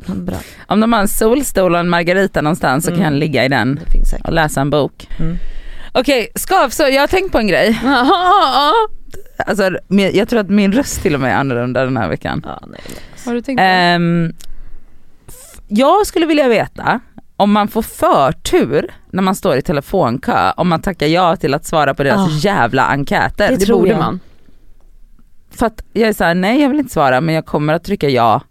Speaker 3: Bra,
Speaker 1: Mm.
Speaker 2: Om de har en solstol och en margarita någonstans så
Speaker 3: Mm.
Speaker 2: kan jag ligga i den
Speaker 3: det finns säkert.
Speaker 2: och läsa en bok.
Speaker 3: Mm.
Speaker 2: Okej, skav så jag har tänkt på en grej. Alltså, men jag tror att min röst till och med är annorlunda den här veckan.
Speaker 3: Ja, nej, nej.
Speaker 1: Har du tänkt på
Speaker 3: Eh,
Speaker 1: det?
Speaker 2: Ehm, f- jag skulle vilja veta om man får förtur när man står i telefonkö om man tackar ja till att svara på deras
Speaker 3: Ah.
Speaker 2: jävla enkäter.
Speaker 3: Det
Speaker 1: Det
Speaker 3: tror
Speaker 1: borde
Speaker 3: jag.
Speaker 1: man.
Speaker 2: För att jag är såhär, nej jag vill inte svara men jag kommer att trycka ja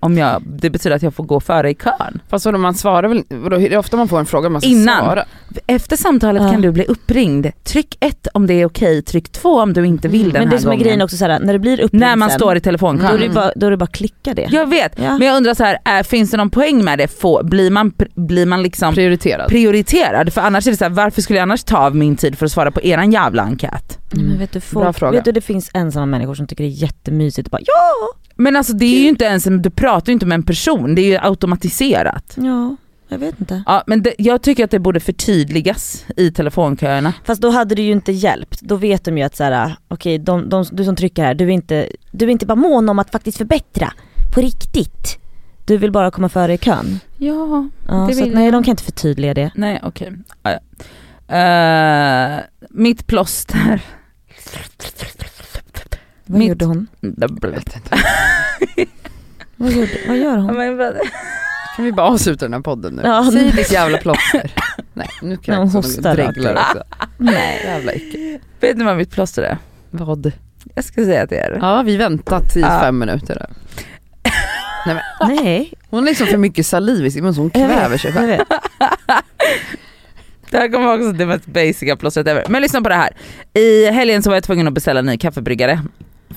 Speaker 2: om jag, det betyder att jag får gå före i kön.
Speaker 1: Fast vadå man svarar väl, vadå, det är ofta man får en fråga man ska
Speaker 2: Innan.
Speaker 1: svara.
Speaker 2: Efter samtalet
Speaker 3: Ja.
Speaker 2: kan du bli uppringd. Tryck ett om det är okej, tryck två om du inte vill den
Speaker 3: Mm, Men
Speaker 2: här
Speaker 3: det som är
Speaker 2: gången.
Speaker 3: grejen också såhär, när det blir uppringd
Speaker 2: när man
Speaker 3: sen,
Speaker 2: står i telefonkön.
Speaker 3: då är
Speaker 1: Mm.
Speaker 3: det bara, då är det bara att klicka det.
Speaker 2: Jag vet,
Speaker 3: Ja.
Speaker 2: men jag undrar så här, är, finns det någon poäng med det? Få, blir, man, pr- blir man liksom
Speaker 1: Prioriterad.
Speaker 2: prioriterad? För annars är det så här, varför skulle jag annars ta av min tid för att svara på eran jävla enkät?
Speaker 3: Nej, Men vet du,
Speaker 1: Bra
Speaker 3: folk,
Speaker 1: fråga.
Speaker 3: vet du det finns ensamma människor som tycker det är jättemysigt och bara ja,
Speaker 2: Men alltså det är ju inte ens, en- du pratar ju inte med en person, det är ju automatiserat.
Speaker 3: ja, jag vet inte.
Speaker 2: Ja, men det, jag tycker att det borde förtydligas i telefonköerna.
Speaker 3: Fast då hade det ju inte hjälpt, då vet de ju att såhär, okej de, de, du som trycker här, du är, inte, du är inte bara mån om att faktiskt förbättra på riktigt. Du vill bara komma före i kön.
Speaker 2: Ja,
Speaker 3: Ja,
Speaker 2: Det
Speaker 3: så att,
Speaker 2: vill
Speaker 3: nej
Speaker 2: jag.
Speaker 3: de kan inte förtydliga det.
Speaker 2: nej okej. Ja, ja. Eh, mitt plåster.
Speaker 3: Vad
Speaker 2: Mitt-
Speaker 3: gjorde hon?
Speaker 1: Jag vet inte.
Speaker 3: Vad, gjorde, vad gör hon?
Speaker 1: Kan vi bara avsluta den här podden nu?
Speaker 3: Ja,
Speaker 1: Säg
Speaker 3: nu-
Speaker 1: ditt jävla plåster. Nej nu kan
Speaker 3: Någon
Speaker 1: jag också
Speaker 3: hostar
Speaker 1: dreglar
Speaker 3: rakt
Speaker 1: också.
Speaker 3: Nej.
Speaker 1: Jävla äckel.
Speaker 2: Vet ni vad mitt plåster är?
Speaker 1: Vad?
Speaker 2: Jag ska säga till er.
Speaker 1: Ja vi väntat i
Speaker 2: Ja.
Speaker 1: fem minuter nu.
Speaker 3: Nej,
Speaker 1: Hon har liksom för mycket saliv i sin mun så hon
Speaker 3: Jag vet,
Speaker 1: kväver sig
Speaker 3: jag
Speaker 1: själv.
Speaker 3: vet.
Speaker 2: Det här kommer vara också det mest basica plåstret ever. Men lyssna på det här. I helgen så var jag tvungen att beställa en ny kaffebryggare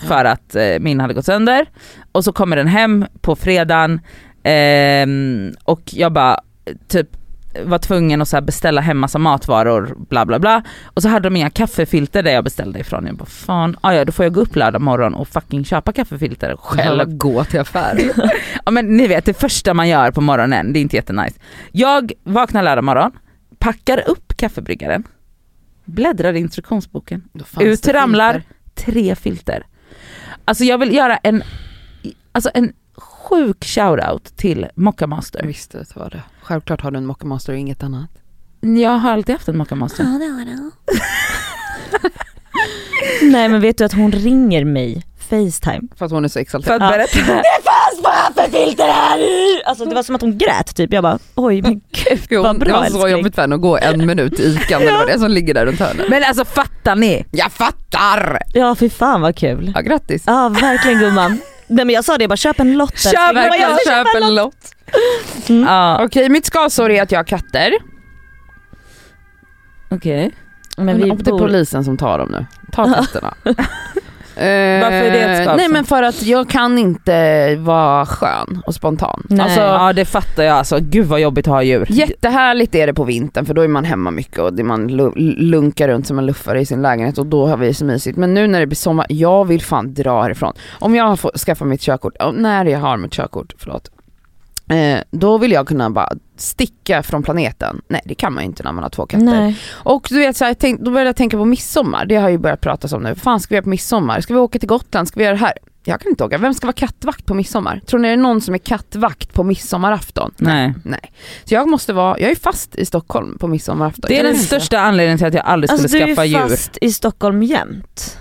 Speaker 2: för att eh, min hade gått sönder. Och så kommer den hem på fredagen ehm, och jag bara typ var tvungen att så här beställa hem massa matvaror bla bla bla. Och så hade de inga kaffefilter där jag beställde ifrån. Jag bara fan, ah, ja då får jag gå upp lördag morgon och fucking köpa kaffefilter själv.
Speaker 1: Själv gå till affären.
Speaker 2: Ja men ni vet det första man gör på morgonen, det är inte jättenice. Jag vaknar lördag morgon, packar upp kaffebryggaren, bläddrar i instruktionsboken.
Speaker 1: Då fanns
Speaker 2: Ut
Speaker 1: det
Speaker 2: ramlar.
Speaker 1: filter.
Speaker 2: Tre filter. Alltså jag vill göra en, alltså en sjuk shoutout till Mocca
Speaker 1: Jag
Speaker 2: Master.
Speaker 1: visste att det var det. Självklart har du en Mocca Master och inget annat.
Speaker 2: Jag har alltid haft en Mocca Master.
Speaker 3: nej men vet du att hon ringer mig Facetime.
Speaker 1: För att hon är så
Speaker 2: För
Speaker 1: exalterad.
Speaker 2: att
Speaker 3: Ja.
Speaker 2: berätta.
Speaker 3: Det fanns bara för filter här i! Alltså det var som att hon grät typ. Jag bara oj men gud
Speaker 1: Jo,
Speaker 3: vad bra
Speaker 1: det var så
Speaker 3: älskling.
Speaker 1: jobbigt för henne att gå en minut i ICA eller vad det är som ligger där runt hörnet.
Speaker 2: Men alltså fattar ni?
Speaker 1: Jag fattar!
Speaker 3: Ja fy fan vad kul.
Speaker 1: Ja grattis.
Speaker 3: Ja verkligen gumman. Nej men jag sa det, jag bara köp en lott.
Speaker 2: Köp
Speaker 3: älskling. Jag bara,
Speaker 2: verkligen,
Speaker 3: jag ska
Speaker 1: köp
Speaker 3: köpa en
Speaker 1: en
Speaker 3: lott.
Speaker 1: lott.
Speaker 3: Mm.
Speaker 2: Ja.
Speaker 1: Okej mitt skavsår är att jag har katter.
Speaker 2: Okej.
Speaker 3: Men vi
Speaker 1: Om det är
Speaker 3: bor...
Speaker 1: polisen som tar dem nu. Ta katterna. Eh,
Speaker 2: Varför är det ett skavsår?
Speaker 1: Nej men för att jag kan inte vara skön och spontan.
Speaker 3: Nej.
Speaker 2: Alltså, ja det fattar jag alltså, gud vad jobbigt att ha djur.
Speaker 1: Jättehärligt är det på vintern för då är man hemma mycket och det man lu- lunkar runt som en luffare i sin lägenhet och då har vi det så mysigt. Men nu när det blir sommar, jag vill fan dra härifrån. Om jag har fått skaffa mitt körkort, ja, när jag har mitt körkort, förlåt. Eh, då vill jag kunna bara sticka från planeten. Nej det kan man ju inte när man har två katter.
Speaker 3: Nej.
Speaker 1: Och du vet, så här, jag tänk, då började jag tänka på midsommar, det har jag ju börjat prata om nu. Fan ska vi göra på midsommar? Ska vi åka till Gotland? Ska vi göra det här? Jag kan inte åka, vem ska vara kattvakt på midsommar? Tror ni det är någon som är kattvakt på midsommarafton?
Speaker 2: Nej.
Speaker 1: Nej. Så jag måste vara, jag är fast i Stockholm på midsommarafton.
Speaker 2: Det är
Speaker 1: Jag
Speaker 2: den
Speaker 1: vet inte.
Speaker 2: största anledningen till att jag aldrig skulle
Speaker 3: Alltså du
Speaker 2: skaffa
Speaker 3: är
Speaker 2: djur.
Speaker 3: fast i Stockholm jämt.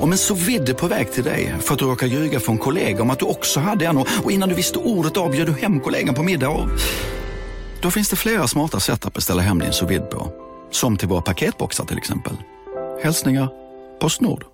Speaker 4: Om en så vidde på väg till dig för att du råkar ljuga från kollega om att du också hade en och och innan du visste ordet av bjöd du hem kollegan på middag och... Då finns det flera smarta sätt att beställa hem din sous vide på. Som till våra paketboxar till exempel. Hälsningar Postnord.